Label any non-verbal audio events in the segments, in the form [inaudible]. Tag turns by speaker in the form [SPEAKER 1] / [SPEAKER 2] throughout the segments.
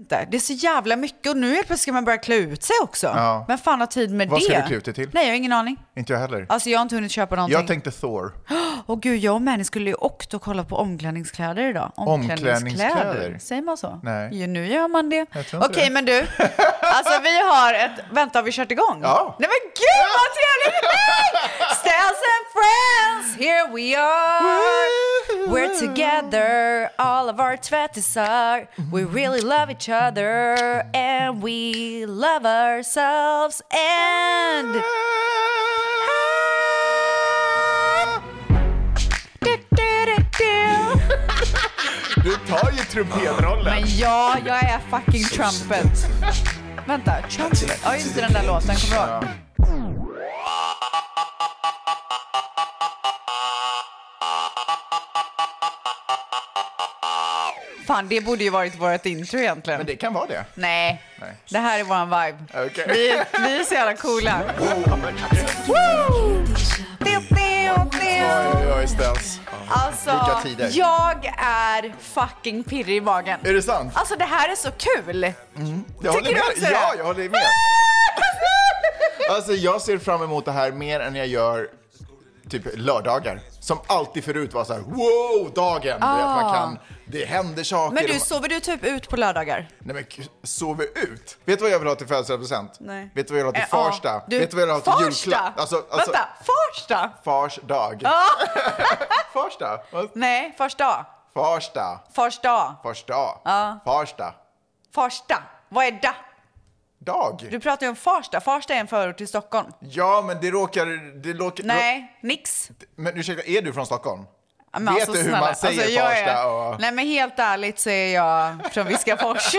[SPEAKER 1] inte. Det är så jävla mycket och nu helt plötsligt ska man börja klä ut sig också.
[SPEAKER 2] Ja.
[SPEAKER 1] Vem fan har tid med
[SPEAKER 2] Vad
[SPEAKER 1] det?
[SPEAKER 2] ska du klä ut dig till?
[SPEAKER 1] Nej, jag har ingen aning.
[SPEAKER 2] Inte jag heller.
[SPEAKER 1] Alltså jag har inte hunnit köpa någonting.
[SPEAKER 2] Jag tänkte Thor.
[SPEAKER 1] Och gud, jag och Mani skulle ju också kolla på omklädningskläder idag.
[SPEAKER 2] Omklädningskläder?
[SPEAKER 1] Säger man så?
[SPEAKER 2] Nej.
[SPEAKER 1] Ja, nu gör man det.
[SPEAKER 2] Jag tror
[SPEAKER 1] Okej,
[SPEAKER 2] inte det. [laughs]
[SPEAKER 1] men du. Alltså vi har ett... Vänta, har vi kört igång?
[SPEAKER 2] Ja.
[SPEAKER 1] Nej men gud vad trevligt! Nej!
[SPEAKER 2] [laughs]
[SPEAKER 1] Stans and friends, here we are. We're together, all of our tvättisar. We really love each other and we love ourselves and...
[SPEAKER 2] Du tar ju trumpetrollen.
[SPEAKER 1] Men ja, jag är fucking trumpet. Vänta, trumpet? Ja, just det, den där låten. Kommer du ihåg? Fan, det borde ju varit vårt intro egentligen.
[SPEAKER 2] Men det kan vara det.
[SPEAKER 1] Nej.
[SPEAKER 2] Nej.
[SPEAKER 1] det här är våran vibe.
[SPEAKER 2] Okej.
[SPEAKER 1] Vi, vi är så jävla coola.
[SPEAKER 2] [laughs]
[SPEAKER 1] Teo, teo, teo.
[SPEAKER 2] Oj, oj, Stens.
[SPEAKER 1] Alltså,
[SPEAKER 2] Sjuka tider.
[SPEAKER 1] jag är fucking pirrig i magen.
[SPEAKER 2] Är det sant?
[SPEAKER 1] Alltså det här är så kul!
[SPEAKER 2] Jag
[SPEAKER 1] Tycker
[SPEAKER 2] håller
[SPEAKER 1] du
[SPEAKER 2] med.
[SPEAKER 1] också det?
[SPEAKER 2] Ja, jag
[SPEAKER 1] [laughs]
[SPEAKER 2] håller med. Alltså, jag ser fram emot det här mer än jag gör typ lördagar. Som alltid förut var så här, wow, dagen. Du vet, man kan, det händer saker.
[SPEAKER 1] Ah. Men
[SPEAKER 2] och
[SPEAKER 1] du,
[SPEAKER 2] man-
[SPEAKER 1] sover du typ ut på lördagar?
[SPEAKER 2] Nej men k- sover ut. Vet du vad jag vill ha till födelsedagspresent?
[SPEAKER 1] Nej.
[SPEAKER 2] Vet du vad jag vill ha
[SPEAKER 1] Eh,
[SPEAKER 2] till
[SPEAKER 1] ja.
[SPEAKER 2] Farsta?
[SPEAKER 1] Du,
[SPEAKER 2] Vet du vad jag vill ha till
[SPEAKER 1] Farsta?
[SPEAKER 2] julklapp? Alltså, alltså,
[SPEAKER 1] Vänta, Farsta?
[SPEAKER 2] Fars dag. [laughs] Farsta? Vad-
[SPEAKER 1] Nej, Farsta.
[SPEAKER 2] Farsta.
[SPEAKER 1] Farsta.
[SPEAKER 2] Farsta. Ja. Farsta.
[SPEAKER 1] Farsta. Vad är da?
[SPEAKER 2] Dag.
[SPEAKER 1] Du pratar ju om Farsta. Farsta är en förort till Stockholm.
[SPEAKER 2] Ja men det råkar... Det råkar
[SPEAKER 1] Nej, nix.
[SPEAKER 2] Men ursäkta, är du från Stockholm?
[SPEAKER 1] Ja,
[SPEAKER 2] Vet du hur man säger
[SPEAKER 1] alltså, jag
[SPEAKER 2] Farsta
[SPEAKER 1] Är,
[SPEAKER 2] och-
[SPEAKER 1] Nej, men helt ärligt så är jag från
[SPEAKER 2] [laughs]
[SPEAKER 1] Viskafors.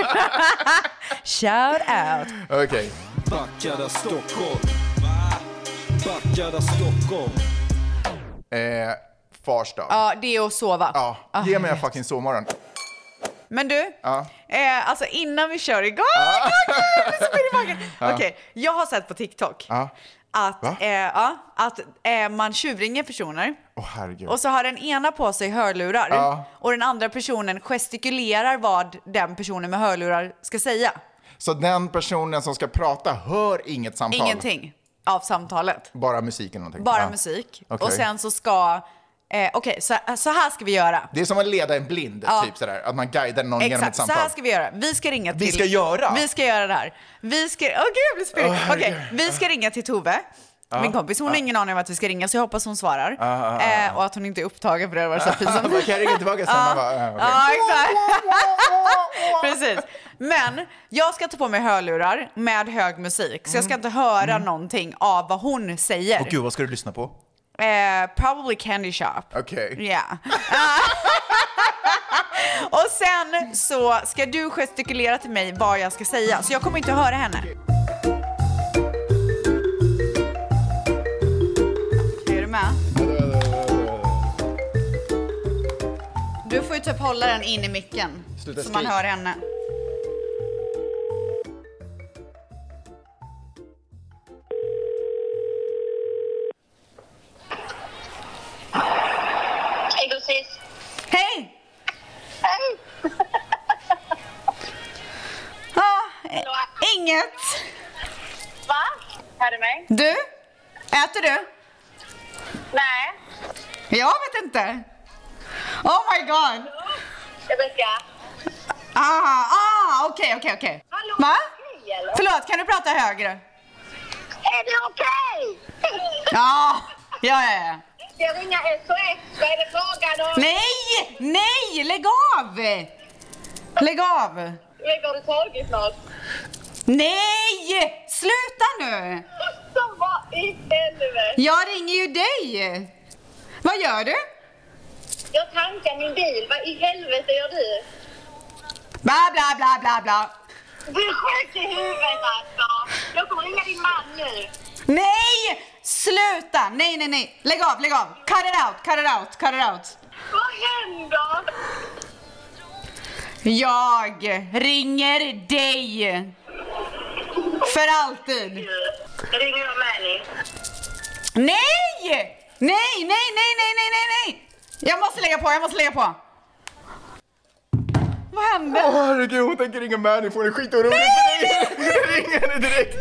[SPEAKER 1] Shout out.
[SPEAKER 2] Okej.
[SPEAKER 3] Baccara Stockholm. Baccara Stockholm.
[SPEAKER 2] Eh, fars dag. Ja.
[SPEAKER 1] Ja, Ah, det är att sova.
[SPEAKER 2] Ge mig en fucking sovmorgon.
[SPEAKER 1] Men du,
[SPEAKER 2] Ja.
[SPEAKER 1] eh, alltså innan vi kör igång, [laughs] ah. Okej, jag har sett på TikTok
[SPEAKER 2] Ja. Va?
[SPEAKER 1] att, eh, ja, att eh, man tjuvringer personer
[SPEAKER 2] Åh herregud.
[SPEAKER 1] och så har den ena på sig hörlurar
[SPEAKER 2] Ja.
[SPEAKER 1] och den andra personen gestikulerar vad den personen med hörlurar ska säga.
[SPEAKER 2] Så den personen som ska prata hör inget samtal?
[SPEAKER 1] Ingenting av samtalet.
[SPEAKER 2] Bara musik eller någonting?
[SPEAKER 1] Bara
[SPEAKER 2] Ja.
[SPEAKER 1] musik.
[SPEAKER 2] Ah, Okej.
[SPEAKER 1] Och sen så ska... Eh, Okej, så, så här ska vi göra.
[SPEAKER 2] Det är som att leda en blind, typ sådär. Att man guidar någon genom ett
[SPEAKER 1] Exakt, så
[SPEAKER 2] samtal.
[SPEAKER 1] här ska vi göra. Vi ska ringa till...
[SPEAKER 2] Vi ska göra?
[SPEAKER 1] Vi ska göra det här. Vi ska... Åh gud, jag blir spirrig.
[SPEAKER 2] Åh, herregud. Ah.
[SPEAKER 1] Okej, vi ska ringa till Tove. Min kompis, hon har ingen aning om att vi ska ringa så jag hoppas hon svarar.
[SPEAKER 2] Ah,
[SPEAKER 1] Eh, och att hon inte är upptagen för det hade
[SPEAKER 2] [laughs]
[SPEAKER 1] varit så pinsamt.
[SPEAKER 2] Man kan ringa tillbaka sen. Man bara, ja, okej.
[SPEAKER 1] Ja, exakt.
[SPEAKER 2] [laughs]
[SPEAKER 1] Precis. Men jag ska ta på mig hörlurar med hög musik så jag ska
[SPEAKER 2] Mm.
[SPEAKER 1] inte höra någonting av vad hon säger.
[SPEAKER 2] Åh, gud, vad ska du lyssna på?
[SPEAKER 1] Eh, probably candy shop.
[SPEAKER 2] Okej.
[SPEAKER 1] Ja. [laughs] och sen så ska du gestikulera till mig vad jag ska säga, så jag kommer inte höra henne. Är du med? Du får ju typ hålla den in i micken,
[SPEAKER 2] Sluta
[SPEAKER 1] så man
[SPEAKER 2] skrik.
[SPEAKER 1] hör henne.
[SPEAKER 4] Hej gossis!
[SPEAKER 1] Hej!
[SPEAKER 4] Hej!
[SPEAKER 1] Ah, eh, inget.
[SPEAKER 4] Va? Hör du mig?
[SPEAKER 1] Du? Äter du?
[SPEAKER 4] Nej.
[SPEAKER 1] Jag vet inte. Oh my god!
[SPEAKER 4] Rebecka?
[SPEAKER 1] Ah, ah, okej, okej, okej.
[SPEAKER 4] Hallå,
[SPEAKER 1] Va?
[SPEAKER 4] okej, eller?
[SPEAKER 1] Förlåt, kan du prata högre?
[SPEAKER 4] Är det okej?
[SPEAKER 1] Ja, ja, ja, ja.
[SPEAKER 4] Ska [laughs] jag ringa SOS? Vad är det frågan om?
[SPEAKER 1] Nej, nej, lägg av! Lägg av!
[SPEAKER 4] Lägger du taget något?
[SPEAKER 1] Nej, sluta nu!
[SPEAKER 4] Som var Alltså, i helvete!
[SPEAKER 1] Jag ringer ju dig. Vad gör du?
[SPEAKER 4] Jag tankar min bil. Vad i helvete gör du?
[SPEAKER 1] Bla, bla, bla, bla, bla.
[SPEAKER 4] Du är sjuk i huvudet alltså! Jag kommer ringa din man nu.
[SPEAKER 1] Nej, sluta! Nej, nej, nej. Lägg av, lägg av. Cut it out, cut it out, cut it out.
[SPEAKER 4] Vad händer?
[SPEAKER 1] Jag ringer dig. För alltid.
[SPEAKER 4] Nu ringer jag Mani.
[SPEAKER 1] Nej! Nej, nej, nej, nej, nej, nej, nej! Jag måste lägga på, jag måste lägga på. Vad hände?
[SPEAKER 2] Åh herregud, hon tänker ringa Mani, får en skitorolig för [laughs] dig. Ring henne direkt.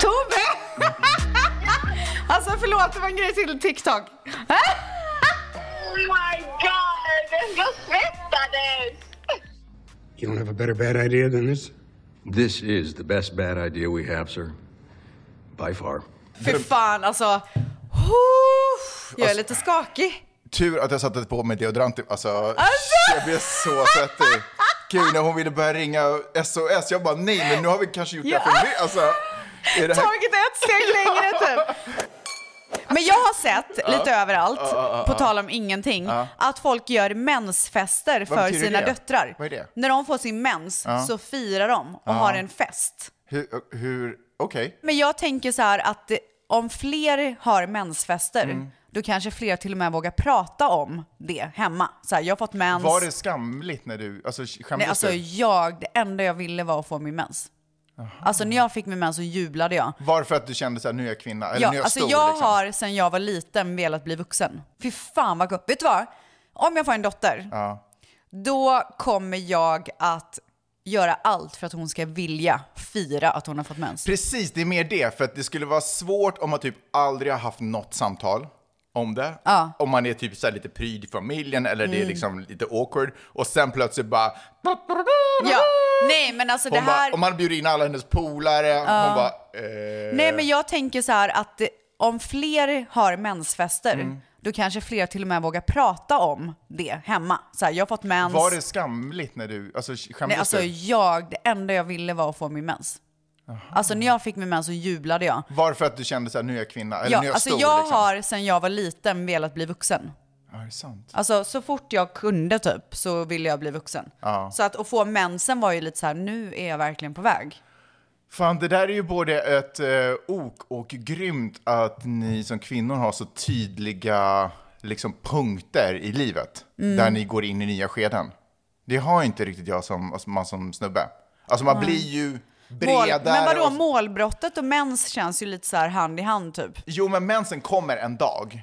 [SPEAKER 1] Tove! [laughs] alltså förlåt, det var en grej till TikTok.
[SPEAKER 5] Oh my god! Jag svettades!
[SPEAKER 6] You don't have a better bad idea than this?
[SPEAKER 7] This is the best bad idea we have, sir. By far.
[SPEAKER 1] Fy fan alltså. Uff, Jag är lite skakig.
[SPEAKER 2] Tur att jag satte på mig deodorant. Alltså,
[SPEAKER 1] Alltså!
[SPEAKER 2] jag blev så svettig. Gud, när hon ville börja ringa SOS, jag bara nej, men nu har vi kanske gjort det här för mycket. Alltså, är det här...
[SPEAKER 1] Tagit ett steg längre typ. Men jag har sett lite överallt, på tal om ingenting, att folk gör mensfester för
[SPEAKER 2] betyder
[SPEAKER 1] sina
[SPEAKER 2] det?
[SPEAKER 1] döttrar.
[SPEAKER 2] Vad är det?
[SPEAKER 1] När de får sin mens så firar de och har en fest.
[SPEAKER 2] Hur, hur okej.
[SPEAKER 1] Men jag tänker så här att det- om fler har mensfester,
[SPEAKER 2] Mm.
[SPEAKER 1] då kanske fler till och med vågar prata om det hemma. Så här, jag har fått mens.
[SPEAKER 2] Var det skamligt när du, alltså
[SPEAKER 1] Nej,
[SPEAKER 2] skämdes
[SPEAKER 1] alltså
[SPEAKER 2] du?
[SPEAKER 1] jag, det enda jag ville var att få min mens. Alltså när jag fick min mens så jublade jag.
[SPEAKER 2] Varför att du kände såhär, nu är jag kvinna, eller nu är
[SPEAKER 1] Ja,
[SPEAKER 2] jag
[SPEAKER 1] alltså
[SPEAKER 2] stor
[SPEAKER 1] jag
[SPEAKER 2] liksom.
[SPEAKER 1] har sedan jag var liten velat bli vuxen. Fy fan vad gott. Vet du vad? Om jag får en dotter, då kommer jag att göra allt för att hon ska vilja fira att hon har fått mens.
[SPEAKER 2] Precis, det är mer det, för att det skulle vara svårt om man typ aldrig har haft något samtal om det. Om man är typ så här lite pryd i familjen eller
[SPEAKER 1] Mm.
[SPEAKER 2] det är liksom lite awkward och sen plötsligt bara...
[SPEAKER 1] Ja. Nej men alltså det
[SPEAKER 2] Hon
[SPEAKER 1] här...
[SPEAKER 2] bara, om man bjuder in alla hennes polare, hon bara... Eh,
[SPEAKER 1] Nej men jag tänker så här att det- om fler har mensfester,
[SPEAKER 2] Mm.
[SPEAKER 1] då kanske fler till och med vågar prata om det hemma. Så här, jag har fått mens.
[SPEAKER 2] var det skamligt när du... Alltså skämdes
[SPEAKER 1] Nej, alltså
[SPEAKER 2] du?
[SPEAKER 1] jag, det enda jag ville var att få min mens. Alltså när jag fick min mens så jublade jag.
[SPEAKER 2] Varför att du kände såhär, nu är jag kvinna, eller nu är
[SPEAKER 1] Ja,
[SPEAKER 2] jag
[SPEAKER 1] alltså
[SPEAKER 2] stor
[SPEAKER 1] jag
[SPEAKER 2] liksom.
[SPEAKER 1] har sedan jag var liten velat bli vuxen.
[SPEAKER 2] Ja, det är sant.
[SPEAKER 1] Alltså så fort jag kunde typ så ville jag bli vuxen. Så att, att få mensen var ju lite så här, nu är jag verkligen på väg.
[SPEAKER 2] Fan, det där är ju både ett eh, ok och grymt att ni som kvinnor har så tydliga liksom, punkter i livet
[SPEAKER 1] Mm.
[SPEAKER 2] där ni går in i nya skeden. Det har inte riktigt jag som, alltså, man som snubbe. Alltså man blir ju
[SPEAKER 1] Mål,
[SPEAKER 2] bredare.
[SPEAKER 1] men vadå,
[SPEAKER 2] och-
[SPEAKER 1] målbrottet och mens känns ju lite så här hand i hand typ.
[SPEAKER 2] Jo, men mensen kommer en dag.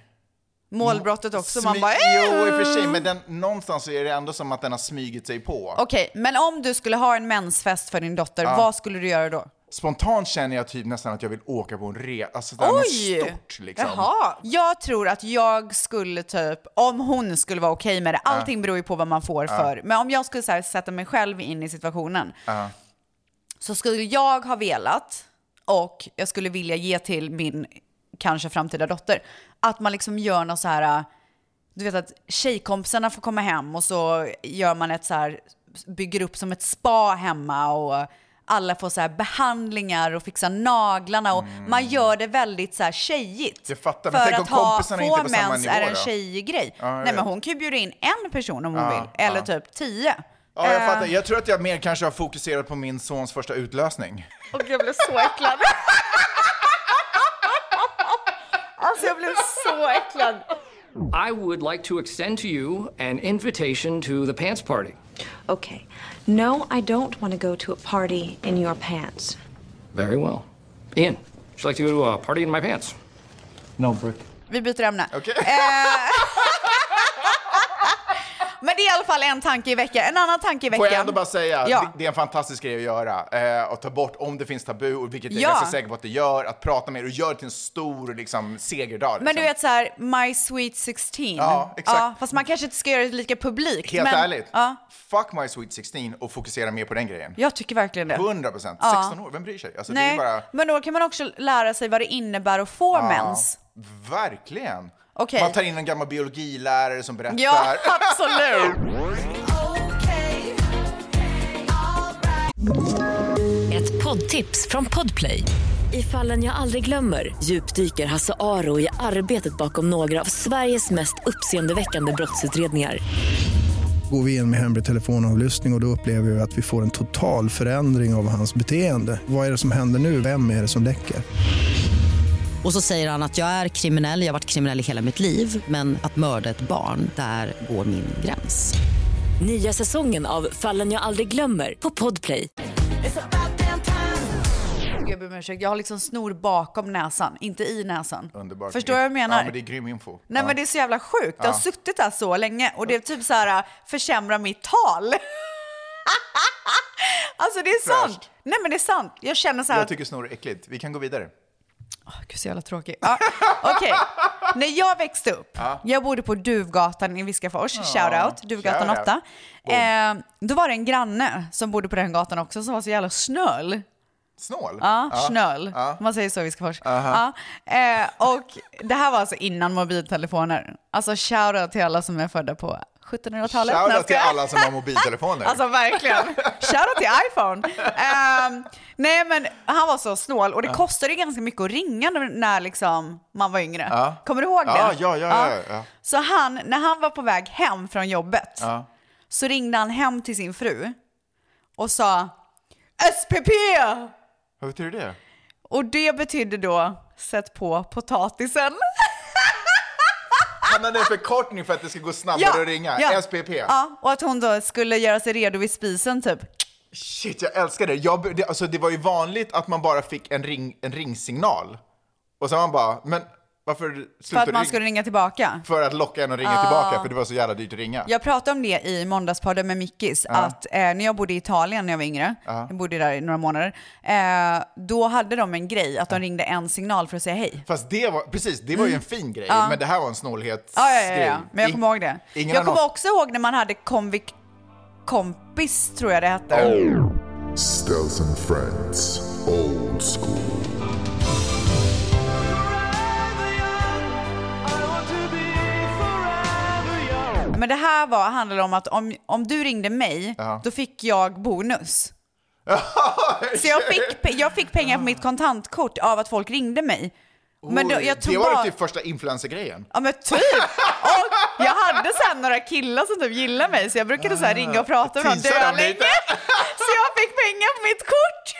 [SPEAKER 1] Målbrottet också, man
[SPEAKER 2] Smy-
[SPEAKER 1] bara
[SPEAKER 2] Jo, i och
[SPEAKER 1] "Eh!"
[SPEAKER 2] för sig, men den, någonstans så är det ändå som att den har smugit sig på.
[SPEAKER 1] Okej, men om du skulle ha en mensfest för din dotter, vad skulle du göra då?
[SPEAKER 2] Spontant känner jag typ nästan att jag vill åka på en resa. Alltså det här med stort liksom.
[SPEAKER 1] Jaha! Jag tror att jag skulle typ, om hon skulle vara okej med det, allting beror ju på vad man får för, men om jag skulle så här, sätta mig själv in i situationen, så skulle jag ha velat, och jag skulle vilja ge till min kanske framtida dotter, att man liksom gör något så här, du vet att tjejkompisarna får komma hem och så gör man ett så här, bygger upp som ett spa hemma och alla får så här behandlingar och fixar naglarna och man gör det väldigt så här tjejigt.
[SPEAKER 2] Mm. Jag fattar, men
[SPEAKER 1] För
[SPEAKER 2] tänk
[SPEAKER 1] att
[SPEAKER 2] om
[SPEAKER 1] ha,
[SPEAKER 2] kompisarna inte är
[SPEAKER 1] få
[SPEAKER 2] på samma
[SPEAKER 1] mens
[SPEAKER 2] nivå
[SPEAKER 1] är en
[SPEAKER 2] då?
[SPEAKER 1] tjejig grej.
[SPEAKER 2] jag
[SPEAKER 1] Nej
[SPEAKER 2] vet. Ah,
[SPEAKER 1] men hon kan ju bjuda in en person om hon vill, eller typ tio.
[SPEAKER 2] Ja,
[SPEAKER 1] Eh.
[SPEAKER 2] jag fattar. Jag tror att jag mer kanske har fokuserat på min sons första utlösning.
[SPEAKER 1] Och jag blev så äcklad. [laughs] alltså jag blev så äcklad.
[SPEAKER 8] I would like to extend to you an invitation to the pants party.
[SPEAKER 9] Okay. No, I don't want to go to a party in your pants.
[SPEAKER 8] Very well. Ian, would you like to go to a party in my pants?
[SPEAKER 7] No, Brick.
[SPEAKER 1] Vi byter ämne.
[SPEAKER 2] Okej?
[SPEAKER 1] Men det är i alla fall en tanke i veckan. En annan tanke i veckan.
[SPEAKER 2] Får jag ändå bara säga,
[SPEAKER 1] Ja.
[SPEAKER 2] det, det är en fantastisk grej att göra. Eh, att ta bort, om det finns tabu, och vilket jag
[SPEAKER 1] Ja.
[SPEAKER 2] är ganska säker på att det gör, att prata med er och gör det till en stor liksom, segerdag. Liksom.
[SPEAKER 1] Men du vet så här, My Sweet 16.
[SPEAKER 2] Ja, exakt.
[SPEAKER 1] fast man kanske inte ska göra det lika publikt.
[SPEAKER 2] Helt
[SPEAKER 1] men,
[SPEAKER 2] ärligt,
[SPEAKER 1] Ja,
[SPEAKER 2] fuck my sweet 16 och fokusera mer på den grejen.
[SPEAKER 1] jag tycker verkligen det.
[SPEAKER 2] 100 procent. 16 år, vem bryr sig? Alltså,
[SPEAKER 1] Nej,
[SPEAKER 2] Det är bara,
[SPEAKER 1] men då kan man också lära sig vad det innebär att få mens.
[SPEAKER 2] verkligen.
[SPEAKER 1] Okej.
[SPEAKER 2] Man tar in en gammal biologilärare som berättar.
[SPEAKER 1] Ja, [laughs]
[SPEAKER 2] [laughs]
[SPEAKER 1] absolut.
[SPEAKER 10] Ett poddtips från Podplay. I fallen jag aldrig glömmer djupdyker Hasse Aro i arbetet bakom några av Sveriges mest uppseendeväckande brottsutredningar.
[SPEAKER 11] Går vi in med hemlig telefonavlyssning och, och då upplever vi att vi får en total förändring av hans beteende. Vad är det som händer nu? Vem är det som läcker?
[SPEAKER 4] Och så säger han att jag är kriminell, jag har varit kriminell i hela mitt liv men att mörda ett barn, där går min gräns.
[SPEAKER 10] Nya säsongen av Fallen jag aldrig glömmer på Podplay.
[SPEAKER 1] gud jag ber om ursäkt. Jag har liksom snor bakom näsan, inte i näsan.
[SPEAKER 2] Underbart.
[SPEAKER 1] Förstår du vad jag menar?
[SPEAKER 2] Ja, men det är grym info.
[SPEAKER 1] Nej
[SPEAKER 2] ja.
[SPEAKER 1] men det är så jävla sjukt. Det har
[SPEAKER 2] Ja.
[SPEAKER 1] suttit där så länge och det är typ så här försämrar mitt tal. [laughs] alltså det är sant. Nej men det är sant. Jag känner så här
[SPEAKER 2] Jag
[SPEAKER 1] att
[SPEAKER 2] tycker snor är äckligt. Vi kan gå vidare.
[SPEAKER 1] Gud, så jävla tråkig. Ja, Okej, när jag växte upp, jag bodde på Duvgatan i Viskafors, shoutout, Duvgatan
[SPEAKER 12] shoutout.
[SPEAKER 1] 8. Eh, då var det en granne som bodde på den gatan också som var så jävla snöll.
[SPEAKER 2] Snål?
[SPEAKER 1] Ja,
[SPEAKER 2] Ja.
[SPEAKER 1] snöll.
[SPEAKER 2] Ja.
[SPEAKER 1] Man säger så i Viskafors.
[SPEAKER 2] Aha.
[SPEAKER 1] Ja, eh, och det här var alltså innan mobiltelefoner. Alltså shoutout till alla som är födda på 1700-talet. Nej, jag
[SPEAKER 2] Shoutout till
[SPEAKER 1] skojar.
[SPEAKER 2] alla som har
[SPEAKER 1] [laughs]
[SPEAKER 2] mobiltelefoner.
[SPEAKER 1] Alltså verkligen. Shoutout till iPhone. Ehm, nej men han var så snål och det
[SPEAKER 2] Ja.
[SPEAKER 1] kostade ju ganska mycket att ringa när, när liksom man var yngre.
[SPEAKER 2] Ja.
[SPEAKER 1] Kommer du ihåg det?
[SPEAKER 2] Ja, ja, ja, ja, ja.
[SPEAKER 1] Så han, när han var på väg hem från jobbet
[SPEAKER 2] Ja.
[SPEAKER 1] så ringde han hem till sin fru och sa SPP!
[SPEAKER 2] Vad betyder det?
[SPEAKER 1] Och det betydde då sätt på potatisen.
[SPEAKER 2] Han hade en förkortning för att det ska gå snabbare att ringa.
[SPEAKER 1] ja.
[SPEAKER 2] SPP.
[SPEAKER 1] Ja, och att hon då skulle göra sig redo vid spisen typ.
[SPEAKER 2] Shit, jag älskar det. Jag, det, alltså, det var ju vanligt att man bara fick en, ring, en ringsignal. Och sen man bara, men varför
[SPEAKER 1] För
[SPEAKER 2] slutar
[SPEAKER 1] att
[SPEAKER 2] du
[SPEAKER 1] man
[SPEAKER 2] ringa?
[SPEAKER 1] skulle ringa tillbaka.
[SPEAKER 2] För att locka en att ringa
[SPEAKER 1] Ah.
[SPEAKER 2] tillbaka, för det var så jävla dyrt att ringa.
[SPEAKER 1] Jag pratade om det i måndagspodden med Mickis,
[SPEAKER 2] Ja.
[SPEAKER 1] att eh, när jag bodde i Italien när jag var yngre,
[SPEAKER 2] Ja.
[SPEAKER 1] jag bodde där i några månader, eh, då hade de en grej att de ringde en signal för att säga hej.
[SPEAKER 2] Fast det var, precis, det var ju en fin grej,
[SPEAKER 1] Mm. Ja.
[SPEAKER 2] men det här var en snålhetsgrej.
[SPEAKER 1] Ja, ja, ja, ja. men jag
[SPEAKER 2] In-
[SPEAKER 1] kommer ihåg det.
[SPEAKER 2] ingen
[SPEAKER 1] jag kommer
[SPEAKER 2] annons.
[SPEAKER 1] också ihåg när man hade konvik kompis, tror jag det hette.
[SPEAKER 13] Stealth and Friends, old school.
[SPEAKER 1] Men det här var, handlade om att om, om du ringde mig, då fick jag
[SPEAKER 2] [laughs]
[SPEAKER 1] bonus. Så jag fick, pe- jag fick pengar på mitt kontantkort av att folk ringde mig. Men då,
[SPEAKER 2] Oj,
[SPEAKER 1] jag tog
[SPEAKER 2] det var
[SPEAKER 1] bara...
[SPEAKER 2] typ första influencer-grejen.
[SPEAKER 1] Ja men typ! Och jag hade sen några killar som typ gillade mig så jag brukade så här ringa och prata med dem
[SPEAKER 2] Teasade dem
[SPEAKER 1] länge.
[SPEAKER 2] lite.
[SPEAKER 1] Så jag fick pengar på mitt kort.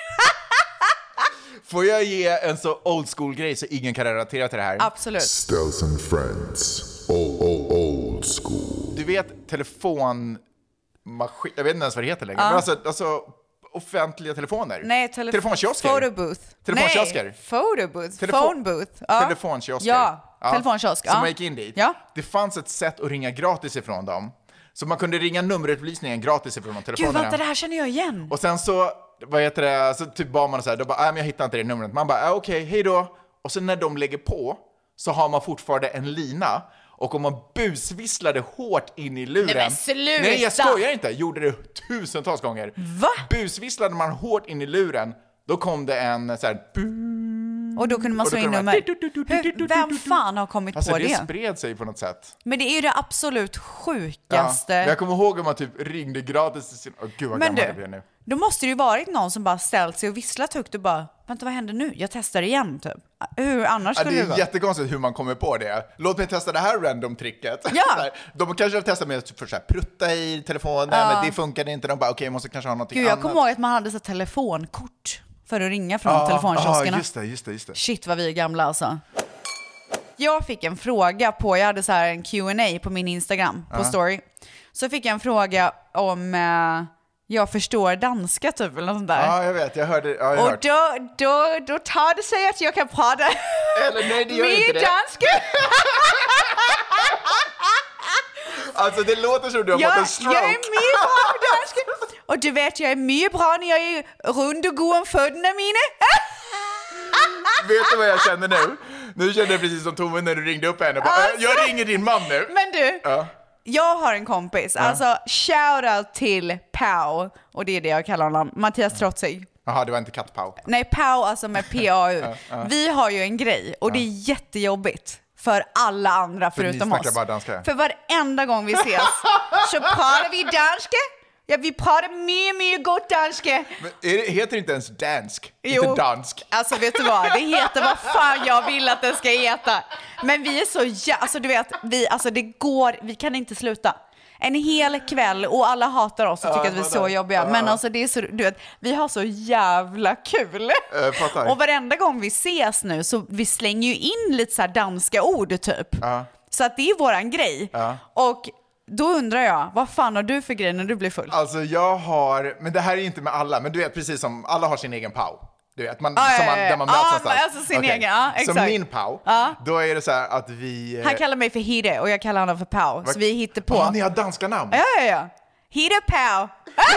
[SPEAKER 2] Får jag ge en så old school-grej så ingen kan relatera till det här?
[SPEAKER 1] Absolut.
[SPEAKER 13] Stealth and Friends, old, old, old school.
[SPEAKER 2] Du vet telefonmaskin, jag vet inte ens vad det heter längre,
[SPEAKER 1] Ja.
[SPEAKER 2] men alltså, alltså offentliga telefoner.
[SPEAKER 1] Nej, telefon...
[SPEAKER 2] Telefonkiosker.
[SPEAKER 1] Photo booth.
[SPEAKER 2] Telefonkiosker.
[SPEAKER 1] Nej, photo booth.
[SPEAKER 2] Telefon-
[SPEAKER 1] Phone booth. Ja.
[SPEAKER 2] Telefonkiosker.
[SPEAKER 1] Ja, telefonkiosk.
[SPEAKER 2] Så
[SPEAKER 1] Ja.
[SPEAKER 2] man gick in dit.
[SPEAKER 1] Ja.
[SPEAKER 2] Det fanns ett sätt att ringa gratis ifrån dem. Så man kunde ringa nummerupplysningen gratis ifrån de
[SPEAKER 1] Gud
[SPEAKER 2] telefonerna.
[SPEAKER 1] vänta, det här känner jag igen.
[SPEAKER 2] Och sen så, vad heter det, så typ bad man så här, då bara, "Nej, men jag hittar inte det numret. Man bara, "Ah, okej, hej då. Och sen när de lägger på så har man fortfarande en lina. Och om man busvisslade hårt in i luren.
[SPEAKER 1] Nej, men sluta!
[SPEAKER 2] Nej, jag skojar inte. Gjorde det tusentals gånger.
[SPEAKER 1] Va?
[SPEAKER 2] Busvisslade man hårt in i luren, då kom det en så här...
[SPEAKER 1] Och då kunde man
[SPEAKER 2] Och då
[SPEAKER 1] slå in
[SPEAKER 2] kunde man-
[SPEAKER 1] nummer. Hur- Vem fan har kommit
[SPEAKER 2] Alltså
[SPEAKER 1] på
[SPEAKER 2] det,
[SPEAKER 1] det?
[SPEAKER 2] spred sig på något sätt.
[SPEAKER 1] Men det är ju det absolut sjukaste.
[SPEAKER 2] men Jag kommer ihåg om man typ ringde gratis till sin... Åh gud vad
[SPEAKER 1] Men
[SPEAKER 2] gammal
[SPEAKER 1] du,
[SPEAKER 2] jag blir nu.
[SPEAKER 1] Då måste det ju varit någon som bara ställt sig och visslat högt och bara “vänta vad händer nu? Jag testar igen” typ. Hur annars
[SPEAKER 2] Ja,
[SPEAKER 1] skulle
[SPEAKER 2] det
[SPEAKER 1] det,
[SPEAKER 2] är
[SPEAKER 1] vara?
[SPEAKER 2] jättekonstigt hur man kommer på det. Låt mig testa det här random tricket.
[SPEAKER 1] Ja.
[SPEAKER 2] [laughs] Så här, De kanske har testat med att typ först så här prutta i telefonen,
[SPEAKER 1] Ja.
[SPEAKER 2] men det funkade inte. De bara okej, jag måste kanske ha någonting
[SPEAKER 1] Gud, jag
[SPEAKER 2] annat.
[SPEAKER 1] kommer ihåg att man hade så här telefonkort för att ringa från
[SPEAKER 2] Ja,
[SPEAKER 1] telefonkioskerna.
[SPEAKER 2] ja, just det, just det, just det.
[SPEAKER 1] Shit vad vi är gamla alltså. Jag fick en fråga på, jag hade så här en Q&A på min Instagram, på
[SPEAKER 2] Ja.
[SPEAKER 1] story. Så fick jag en fråga om eh, jag förstår danska typ eller något sånt där.
[SPEAKER 2] Ja, jag vet. Jag hörde. Ja, jag
[SPEAKER 1] Och
[SPEAKER 2] hörde.
[SPEAKER 1] då, då, då tar det sig att jag kan prata
[SPEAKER 2] Eller nej, det gör
[SPEAKER 1] med
[SPEAKER 2] inte det.
[SPEAKER 1] danska.
[SPEAKER 2] Alltså det låter som du har
[SPEAKER 1] jag,
[SPEAKER 2] fått en
[SPEAKER 1] jag är
[SPEAKER 2] stroke.
[SPEAKER 1] mycket bra på danska.
[SPEAKER 2] [laughs]
[SPEAKER 1] Och du vet, jag är mycket bra när jag är rund och god om fötterna mina. Äh,
[SPEAKER 2] Vet du vad jag känner nu? Nu kände jag precis som Tove när du ringde upp henne. Bara, "Äh,
[SPEAKER 1] Alltså.
[SPEAKER 2] Jag ringer din man nu.
[SPEAKER 1] Men du,
[SPEAKER 2] Ja.
[SPEAKER 1] jag har en kompis,
[SPEAKER 2] Ja.
[SPEAKER 1] alltså shoutout till Pau, och det är det jag kallar honom, Mattias Trotzig.
[SPEAKER 2] Jaha, det var inte kattpau.
[SPEAKER 1] Nej, Pau alltså med PAU.
[SPEAKER 2] [laughs] Ja, ja.
[SPEAKER 1] Vi har ju en grej och det är jättejobbigt för alla andra
[SPEAKER 2] För ni
[SPEAKER 1] förutom
[SPEAKER 2] snackar
[SPEAKER 1] oss.
[SPEAKER 2] bara danska.
[SPEAKER 1] För varenda gång vi
[SPEAKER 2] [laughs]
[SPEAKER 1] ses så pratar vi danska. Ja, vi pratar mycket, mycket gott danska.
[SPEAKER 2] Är det, heter det inte ens dansk?
[SPEAKER 1] Jo.
[SPEAKER 2] Inte dansk.
[SPEAKER 1] Alltså vet du vad, det heter vad fan jag vill att det ska heta. Men vi är så jä... Alltså du vet, vi, alltså det går, vi kan inte sluta. En hel kväll och alla hatar oss och
[SPEAKER 2] Ja,
[SPEAKER 1] tycker
[SPEAKER 2] jag
[SPEAKER 1] att vi är så
[SPEAKER 2] fattar.
[SPEAKER 1] jobbiga. Men
[SPEAKER 2] Ja.
[SPEAKER 1] alltså det är så, du vet, vi har så jävla kul.
[SPEAKER 2] Jag Eh, fattar.
[SPEAKER 1] Och varenda gång vi ses nu så vi slänger ju in lite så här danska ord typ.
[SPEAKER 2] Ja.
[SPEAKER 1] Så att det är våran grej.
[SPEAKER 2] Ja.
[SPEAKER 1] Och då undrar jag, vad fan har du för grej när du blir full?
[SPEAKER 2] Alltså jag har, men det här är inte med alla, men du vet precis som alla har sin egen pau. Du vet, man,
[SPEAKER 1] Ja, ja,
[SPEAKER 2] som man,
[SPEAKER 1] ja, ja.
[SPEAKER 2] där man
[SPEAKER 1] Ja,
[SPEAKER 2] möts
[SPEAKER 1] men
[SPEAKER 2] någonstans.
[SPEAKER 1] alltså sin
[SPEAKER 2] Okej.
[SPEAKER 1] egen, ja,
[SPEAKER 2] Så
[SPEAKER 1] exakt.
[SPEAKER 2] min Pau,
[SPEAKER 1] Ja.
[SPEAKER 2] då är det så här att vi... eh,
[SPEAKER 1] Han kallar mig för Hide och jag kallar honom för Pau. Så
[SPEAKER 2] Vad-
[SPEAKER 1] vi hittar på.
[SPEAKER 2] Ja, ni har danska namn.
[SPEAKER 1] Ja, ja, ja. Hide Pau. [laughs]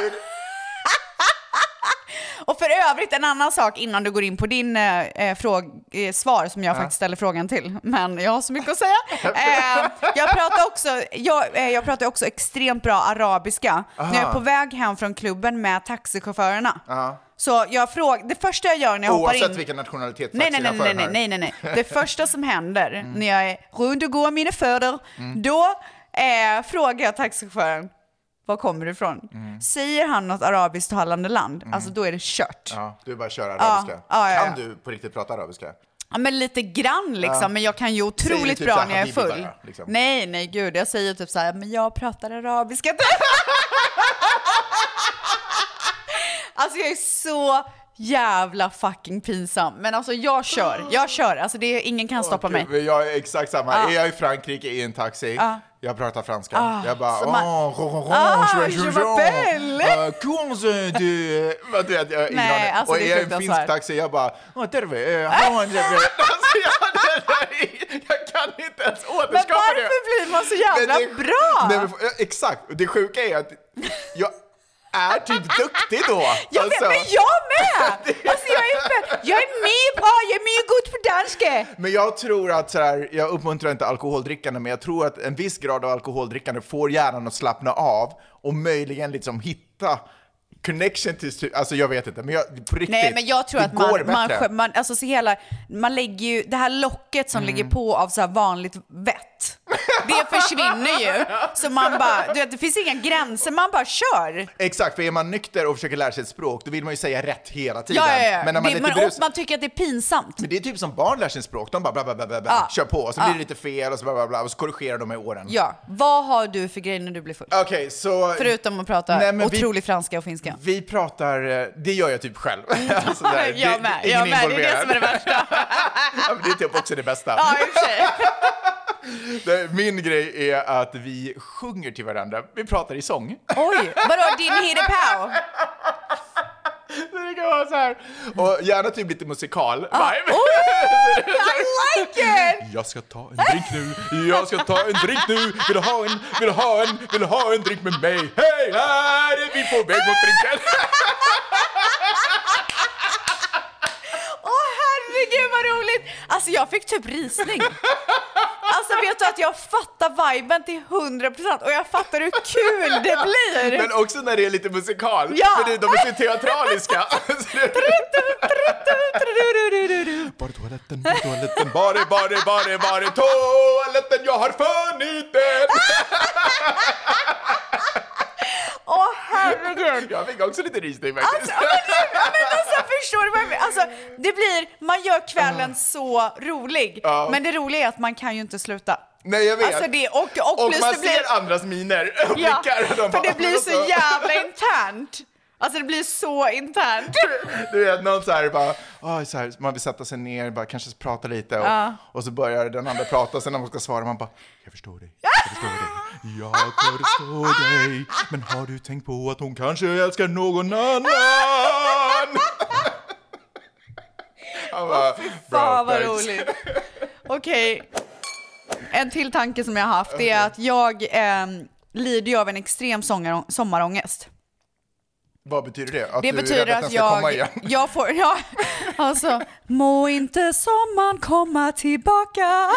[SPEAKER 1] och för övrigt en annan sak innan du går in på din eh, eh, fråg, eh, svar som jag
[SPEAKER 14] Ja.
[SPEAKER 1] faktiskt ställer frågan till. Men jag har så mycket att
[SPEAKER 2] [laughs]
[SPEAKER 1] säga. Eh, jag pratar också, jag, eh, jag pratar också extremt bra arabiska.
[SPEAKER 14] Aha.
[SPEAKER 1] När jag är på väg hem från klubben med taxichaufförerna.
[SPEAKER 2] Ja.
[SPEAKER 1] Så jag frågar, det första jag gör när jag hoppar in...
[SPEAKER 2] Oavsett vilken nationalitet
[SPEAKER 1] Nej, nej, nej, nej,
[SPEAKER 2] taxichauffören
[SPEAKER 1] nej,
[SPEAKER 2] har.
[SPEAKER 1] nej, nej, nej.
[SPEAKER 2] [laughs]
[SPEAKER 1] Det första som händer när jag är runt och går mina fötter,
[SPEAKER 2] Mm.
[SPEAKER 1] då eh, frågar jag taxichauffören, var kommer du ifrån?
[SPEAKER 2] Mm.
[SPEAKER 1] Säger han något arabisktalande land, alltså då är det kört.
[SPEAKER 2] Ja, du bara kör arabiska.
[SPEAKER 1] ja, ja,
[SPEAKER 2] Kan
[SPEAKER 1] ja.
[SPEAKER 2] du på riktigt prata arabiska?
[SPEAKER 1] Ja, men lite grann liksom,
[SPEAKER 2] Ja.
[SPEAKER 1] men jag kan ju
[SPEAKER 2] Säger du
[SPEAKER 1] otroligt
[SPEAKER 2] typ så
[SPEAKER 1] bra
[SPEAKER 2] här,
[SPEAKER 1] när jag är
[SPEAKER 2] "Habibi"
[SPEAKER 1] full.
[SPEAKER 2] bara, liksom?
[SPEAKER 1] Nej, nej, gud, jag säger typ så här, men jag pratar arabiska. [laughs] alltså jag är så jävla fucking pinsam. Men alltså jag kör, jag kör. Alltså det är, ingen kan stoppa mig.
[SPEAKER 2] Men Jag är exakt samma.
[SPEAKER 1] Ja.
[SPEAKER 2] Är jag i Frankrike i en taxi,
[SPEAKER 1] Ja.
[SPEAKER 2] jag pratar franska.
[SPEAKER 1] Ah,
[SPEAKER 2] jag bara...
[SPEAKER 1] så man-
[SPEAKER 2] "Oh, ro, ro, ro,
[SPEAKER 1] Ah,
[SPEAKER 2] je
[SPEAKER 1] je
[SPEAKER 2] je
[SPEAKER 1] m'appelle."
[SPEAKER 2] Ah, Comment euh, du... Vad du vet, jag har ingen
[SPEAKER 1] Nej,
[SPEAKER 2] aning.
[SPEAKER 1] alltså,
[SPEAKER 2] Och
[SPEAKER 1] det är
[SPEAKER 2] är jag i en
[SPEAKER 1] fruktansvärt.
[SPEAKER 2] finsk taxi, jag bara... "Ah, terve, eh, how
[SPEAKER 1] [laughs]
[SPEAKER 2] are you?" Jag kan inte ens återskapa
[SPEAKER 1] Men varför blir man så jävla
[SPEAKER 2] Men det-
[SPEAKER 1] bra?
[SPEAKER 2] Nej, men, f- ja, exakt. Det sjuka är att jag är typ duktig då.
[SPEAKER 1] [laughs] Jag vet,
[SPEAKER 2] Alltså.
[SPEAKER 1] men jag med!
[SPEAKER 2] [laughs]
[SPEAKER 1] Alltså jag är, fett- jag är mycket bra, jag är mycket god på danska.
[SPEAKER 2] Men jag tror att så här, jag uppmuntrar inte alkoholdrickande, men jag tror att en viss grad av alkoholdrickande får hjärnan att slappna av och möjligen liksom hitta connection till, stu- alltså jag vet inte, men jag, på riktigt,
[SPEAKER 1] Nej men jag tror
[SPEAKER 2] det
[SPEAKER 1] att man,
[SPEAKER 2] går
[SPEAKER 1] man,
[SPEAKER 2] bättre.
[SPEAKER 1] skö- man, alltså så hela, man lägger ju, det här locket som
[SPEAKER 2] Mm.
[SPEAKER 1] ligger på av så här vanligt vett, det försvinner ju. Så man bara, du vet, det finns inga gränser, man bara kör.
[SPEAKER 2] Exakt, för är man nykter och försöker lära sig ett språk, då vill man ju säga rätt hela tiden.
[SPEAKER 1] Ja, ja, ja.
[SPEAKER 2] Men när man
[SPEAKER 1] det,
[SPEAKER 2] är lite
[SPEAKER 1] men, och
[SPEAKER 2] brus,
[SPEAKER 1] man tycker att det är pinsamt.
[SPEAKER 2] men det är typ som barn lär sig ett språk, de bara bla, bla, bla, bla, bla,
[SPEAKER 1] Ja.
[SPEAKER 2] kör på, och så
[SPEAKER 1] Ja.
[SPEAKER 2] blir det lite fel och så, bla, bla, bla, och så korrigerar de med åren.
[SPEAKER 1] Ja, vad har du för grejer när du blir full?
[SPEAKER 2] Okej, så...
[SPEAKER 1] Förutom att prata
[SPEAKER 2] Nej, men vi-
[SPEAKER 1] otrolig franska och finska.
[SPEAKER 2] Vi pratar, eh, det gör jag typ själv. [laughs] Alltså, där, det-
[SPEAKER 1] Mm. Jag med,
[SPEAKER 2] ingen
[SPEAKER 1] jag med. Det är det
[SPEAKER 2] involverad.
[SPEAKER 1] som är det värsta.
[SPEAKER 2] [laughs] Ja, men det är typ också det bästa.
[SPEAKER 1] Ja, i och för
[SPEAKER 2] [laughs]
[SPEAKER 1] sig.
[SPEAKER 2] Det- Min grej är att vi sjunger till varandra. Vi pratar i sång. [laughs]
[SPEAKER 1] Oj, vadå din hiddepau?
[SPEAKER 2] Det kan vara så här. Och gärna typ lite musikal.
[SPEAKER 1] Ah,
[SPEAKER 2] vibe.
[SPEAKER 1] oh, I like it!
[SPEAKER 2] [laughs] Jag ska ta en drink nu, jag ska ta en drink nu. Vill du ha en, vill du ha en, vill du ha en drink med mig? Hej, här är vi på väg mot
[SPEAKER 1] [laughs]
[SPEAKER 2] drinken.
[SPEAKER 1] Åh herregud vad roligt! Alltså jag fick typ risning. Alltså vet du att jag fattar viben till 100% och jag fattar hur kul det blir!
[SPEAKER 2] Men också när det är lite musikal.
[SPEAKER 1] Ja.
[SPEAKER 2] För det, de är så teatraliska. [laughs] Bara toaletten, bara toaletten, bara, bara, bara, bara toaletten, jag har funnit den!
[SPEAKER 1] Åh herregud!
[SPEAKER 2] Jag fick också lite risning
[SPEAKER 1] Ah, Alltså,
[SPEAKER 2] faktiskt.
[SPEAKER 1] men, det- men alltså förstår du vad jag menar? Alltså, det blir, man gör kvällen så rolig.
[SPEAKER 2] Ja.
[SPEAKER 1] Men det roliga är att man kan ju inte sluta.
[SPEAKER 2] Nej, jag vet.
[SPEAKER 1] Alltså det, och, och,
[SPEAKER 2] Och
[SPEAKER 1] plus
[SPEAKER 2] man
[SPEAKER 1] det blir...
[SPEAKER 2] ser andras miner och
[SPEAKER 1] Ja,
[SPEAKER 2] blickar. och de bara,
[SPEAKER 1] för det blir
[SPEAKER 2] men
[SPEAKER 1] så
[SPEAKER 2] alltså.
[SPEAKER 1] jävla internt. Alltså det blir så internt.
[SPEAKER 2] Du vet, någon så här bara, "Oj, så här, man vill sätta sig ner, bara kanske prata lite och,
[SPEAKER 1] Ja.
[SPEAKER 2] och så börjar den andra prata, sen när man ska svara, man bara, jag förstår dig,
[SPEAKER 1] [laughs]
[SPEAKER 2] jag förstår dig, jag förstår dig, men har du tänkt på att hon kanske älskar någon annan? [laughs] Han bara,
[SPEAKER 1] Fan
[SPEAKER 2] "Bra,
[SPEAKER 1] vad
[SPEAKER 2] thanks." [laughs]
[SPEAKER 1] roligt. Okej. En till tanke som jag har haft är att jag ehm, lider ju av en extrem sångar- sommarångest.
[SPEAKER 2] Vad betyder det? Att
[SPEAKER 1] det
[SPEAKER 2] du är
[SPEAKER 1] betyder
[SPEAKER 2] rädd att, den
[SPEAKER 1] att
[SPEAKER 2] ska komma
[SPEAKER 1] jag,
[SPEAKER 2] igen?
[SPEAKER 1] jag får...
[SPEAKER 2] [laughs]
[SPEAKER 1] Ja, alltså, må inte sommaren komma tillbaka.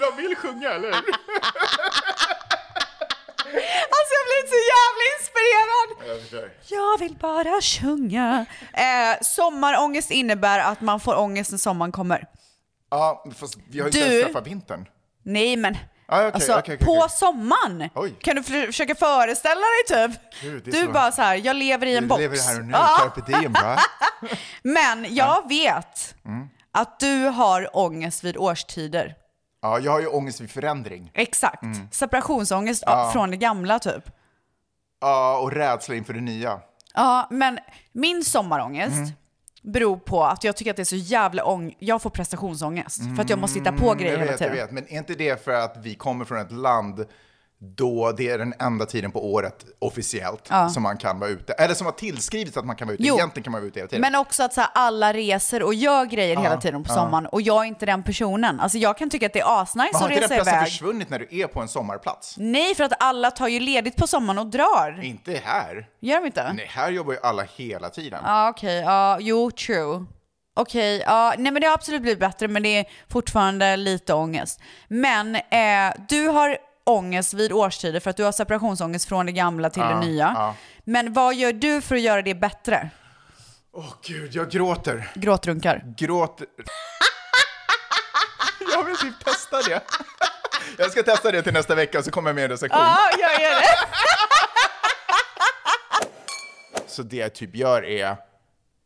[SPEAKER 2] Jag vill sjunga, eller
[SPEAKER 1] Alltså jag blir så jävla inspirerad.
[SPEAKER 2] [laughs] Jag förstår.
[SPEAKER 1] Jag vill bara sjunga. Eh, sommarångest innebär att man får ångest när sommaren kommer.
[SPEAKER 2] Ja, fast vi har ju inte
[SPEAKER 1] Du-
[SPEAKER 2] ens träffat vintern.
[SPEAKER 1] Nej men,
[SPEAKER 2] Ah, okej,
[SPEAKER 1] alltså
[SPEAKER 2] okej, okej,
[SPEAKER 1] på
[SPEAKER 2] okej.
[SPEAKER 1] sommaren. Kan du för- försöka föreställa dig typ?
[SPEAKER 2] Gud, det är
[SPEAKER 1] du
[SPEAKER 2] så-
[SPEAKER 1] bara så här, jag lever i en box.
[SPEAKER 2] Vi lever här och nu, typ.
[SPEAKER 1] Ja.
[SPEAKER 2] carpe
[SPEAKER 1] [laughs]
[SPEAKER 2] diem, va?
[SPEAKER 1] Men jag vet
[SPEAKER 2] Mm.
[SPEAKER 1] att du har ångest vid årstider.
[SPEAKER 2] Ja, jag har ju ångest vid förändring.
[SPEAKER 1] Exakt.
[SPEAKER 2] Mm.
[SPEAKER 1] Separationsångest
[SPEAKER 2] Ja.
[SPEAKER 1] från det gamla typ.
[SPEAKER 2] Ja, och rädsla inför det nya.
[SPEAKER 1] Ja, men min sommarångest
[SPEAKER 2] Mm.
[SPEAKER 1] beror på att jag tycker att det är så jävla ång... Jag får prestationsångest för att jag måste hitta på typ.
[SPEAKER 2] Mm,
[SPEAKER 1] grejer
[SPEAKER 2] jag vet,
[SPEAKER 1] hela tiden.
[SPEAKER 2] Jag vet, men är inte det för att vi kommer från ett land då det är den enda tiden på året officiellt
[SPEAKER 1] Ja.
[SPEAKER 2] som man kan vara ute. Eller som har tillskrivits att man kan vara ute.
[SPEAKER 1] Jo.
[SPEAKER 2] Egentligen kan man vara ute hela tiden.
[SPEAKER 1] Men också att så här, alla reser och gör grejer
[SPEAKER 2] Typ. Ja,
[SPEAKER 1] hela tiden på
[SPEAKER 2] ja.
[SPEAKER 1] sommaren och jag är inte den personen. Alltså jag kan tycka att det är asnice
[SPEAKER 2] Men har
[SPEAKER 1] att
[SPEAKER 2] inte den
[SPEAKER 1] resa
[SPEAKER 2] platsen
[SPEAKER 1] iväg.
[SPEAKER 2] försvunnit när du är på en sommarplats?
[SPEAKER 1] Nej, för att alla tar ju ledigt på sommaren och drar.
[SPEAKER 2] Inte här.
[SPEAKER 1] Gör de inte?
[SPEAKER 2] Nej, här jobbar ju alla hela tiden.
[SPEAKER 1] Ja, okej. Ja, jo, true. Okej, ja. Nej, men det har absolut blivit bättre, men det är fortfarande lite ångest. Men eh, du har ångest vid årstider för att du har separationsångest från det gamla till
[SPEAKER 2] Ja,
[SPEAKER 1] det nya.
[SPEAKER 2] ja.
[SPEAKER 1] Men vad gör du för att göra det bättre?
[SPEAKER 2] Åh gud, jag gråter.
[SPEAKER 1] Gråtrunkar.
[SPEAKER 2] Gråter. [laughs] jag vill typ testa det. jag ska testa det till nästa vecka så kommer jag med en recension.
[SPEAKER 1] jag gör det.
[SPEAKER 2] Så det jag typ gör är,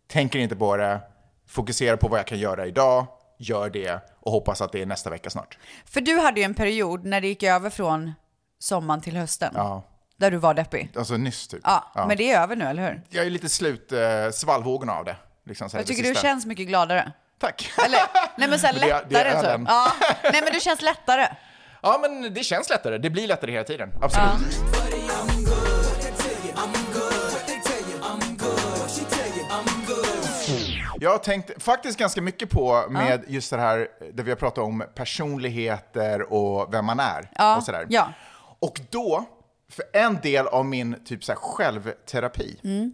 [SPEAKER 2] tänker inte på det, fokuserar på vad jag kan göra idag, gör det och hoppas att det är nästa vecka snart.
[SPEAKER 1] För du hade ju en period när det gick över från sommaren till hösten.
[SPEAKER 2] Ja.
[SPEAKER 1] Där du var deppig.
[SPEAKER 2] Alltså nyss typ.
[SPEAKER 1] Ja,
[SPEAKER 2] Ja.
[SPEAKER 1] men det är över nu, eller hur?
[SPEAKER 2] Jag är lite slut, eh, svallvågorna av det. Liksom så här,
[SPEAKER 1] Jag
[SPEAKER 2] det
[SPEAKER 1] tycker du
[SPEAKER 2] sista.
[SPEAKER 1] känns mycket gladare.
[SPEAKER 2] Tack.
[SPEAKER 1] Eller, nej men såhär
[SPEAKER 2] Men det är-
[SPEAKER 1] lättare
[SPEAKER 2] det är ölen.
[SPEAKER 1] typ. Ja. Nej men du känns lättare.
[SPEAKER 2] Ja, men det känns lättare. Det blir lättare hela tiden. Absolut. Jag har tänkt faktiskt ganska mycket på med just det här där vi har pratat om personligheter och vem man är.
[SPEAKER 1] Ja,
[SPEAKER 2] Och, sådär.
[SPEAKER 1] ja.
[SPEAKER 2] och då, för en del av min typ så här självterapi,
[SPEAKER 1] Mm.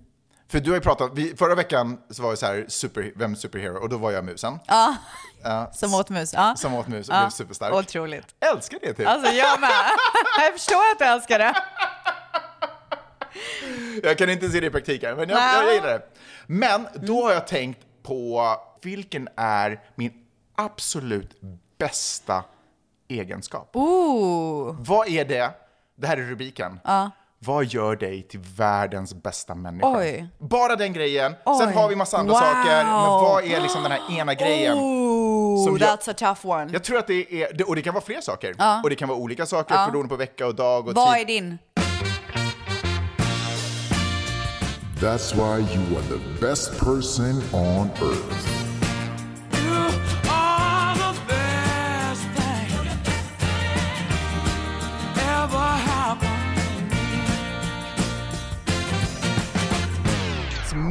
[SPEAKER 2] för du har ju pratat, vi, förra veckan så var det så här, super, vem är superhero? Och då var jag musen.
[SPEAKER 1] Ja.
[SPEAKER 2] Ja.
[SPEAKER 1] Som åt mus. Ja.
[SPEAKER 2] Som åt mus och blev superstark.
[SPEAKER 1] Otroligt.
[SPEAKER 2] Älskar det typ.
[SPEAKER 1] Alltså jag med. [laughs] Jag förstår att du älskar det.
[SPEAKER 2] Jag kan inte se det i praktiken, men jag,
[SPEAKER 1] Nej.
[SPEAKER 2] jag, jag gillar det. Men då har jag tänkt på vilken är min absolut bästa egenskap?
[SPEAKER 1] Oh. Ooh.
[SPEAKER 2] Vad är det? Det här är rubriken.
[SPEAKER 1] Ja.
[SPEAKER 2] Vad gör dig till världens bästa människa?
[SPEAKER 1] Oj.
[SPEAKER 2] Bara den grejen. Sen
[SPEAKER 1] Oj.
[SPEAKER 2] har vi massa andra
[SPEAKER 1] Wow. Oh.
[SPEAKER 2] saker. Men vad är liksom den
[SPEAKER 1] [gasps]
[SPEAKER 2] här ena grejen?
[SPEAKER 1] Ooh,
[SPEAKER 2] som jag-
[SPEAKER 1] that's a tough one.
[SPEAKER 2] Jag tror att det är, det- och det kan vara fler saker.
[SPEAKER 1] Ja.
[SPEAKER 2] Och det kan vara olika saker
[SPEAKER 1] Ja.
[SPEAKER 2] beroende på vecka och dag och
[SPEAKER 1] Vad
[SPEAKER 2] tid.
[SPEAKER 1] är din?
[SPEAKER 15] That's why you are the best person on earth.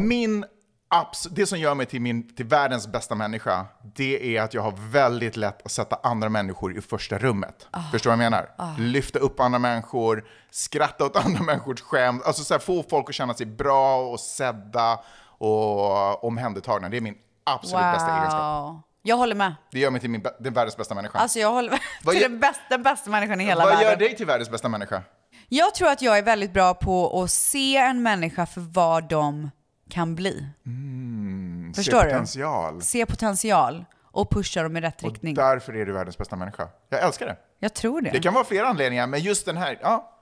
[SPEAKER 2] Min abs- det som gör mig till, min, till världens bästa människa, det är att jag har väldigt lätt att sätta andra människor i första rummet. Förstår du vad jag menar? Lyfta upp andra människor, skratta åt [laughs] andra människors skämt, alltså så här, få folk att känna sig bra och sedda och omhändertagna. Det är min absolut bästa egenskap.
[SPEAKER 1] Jag håller med.
[SPEAKER 2] Det gör mig till min, bä- den världens bästa människa.
[SPEAKER 1] Alltså jag håller med. [laughs]
[SPEAKER 2] Vad
[SPEAKER 1] till
[SPEAKER 2] gör-
[SPEAKER 1] den bästa, den bästa människan i hela
[SPEAKER 2] Vad
[SPEAKER 1] världen.
[SPEAKER 2] gör dig till världens bästa människa?
[SPEAKER 1] Jag tror att jag är väldigt bra på att se en människa för vad de kan bli.
[SPEAKER 2] Mm,
[SPEAKER 1] Förstår
[SPEAKER 2] se
[SPEAKER 1] du?
[SPEAKER 2] potential.
[SPEAKER 1] Se potential och pusha dem i rätt
[SPEAKER 2] Och
[SPEAKER 1] riktning.
[SPEAKER 2] därför är du världens bästa människa. Jag älskar det.
[SPEAKER 1] Jag tror det.
[SPEAKER 2] Det kan vara flera anledningar, men just den här, ja.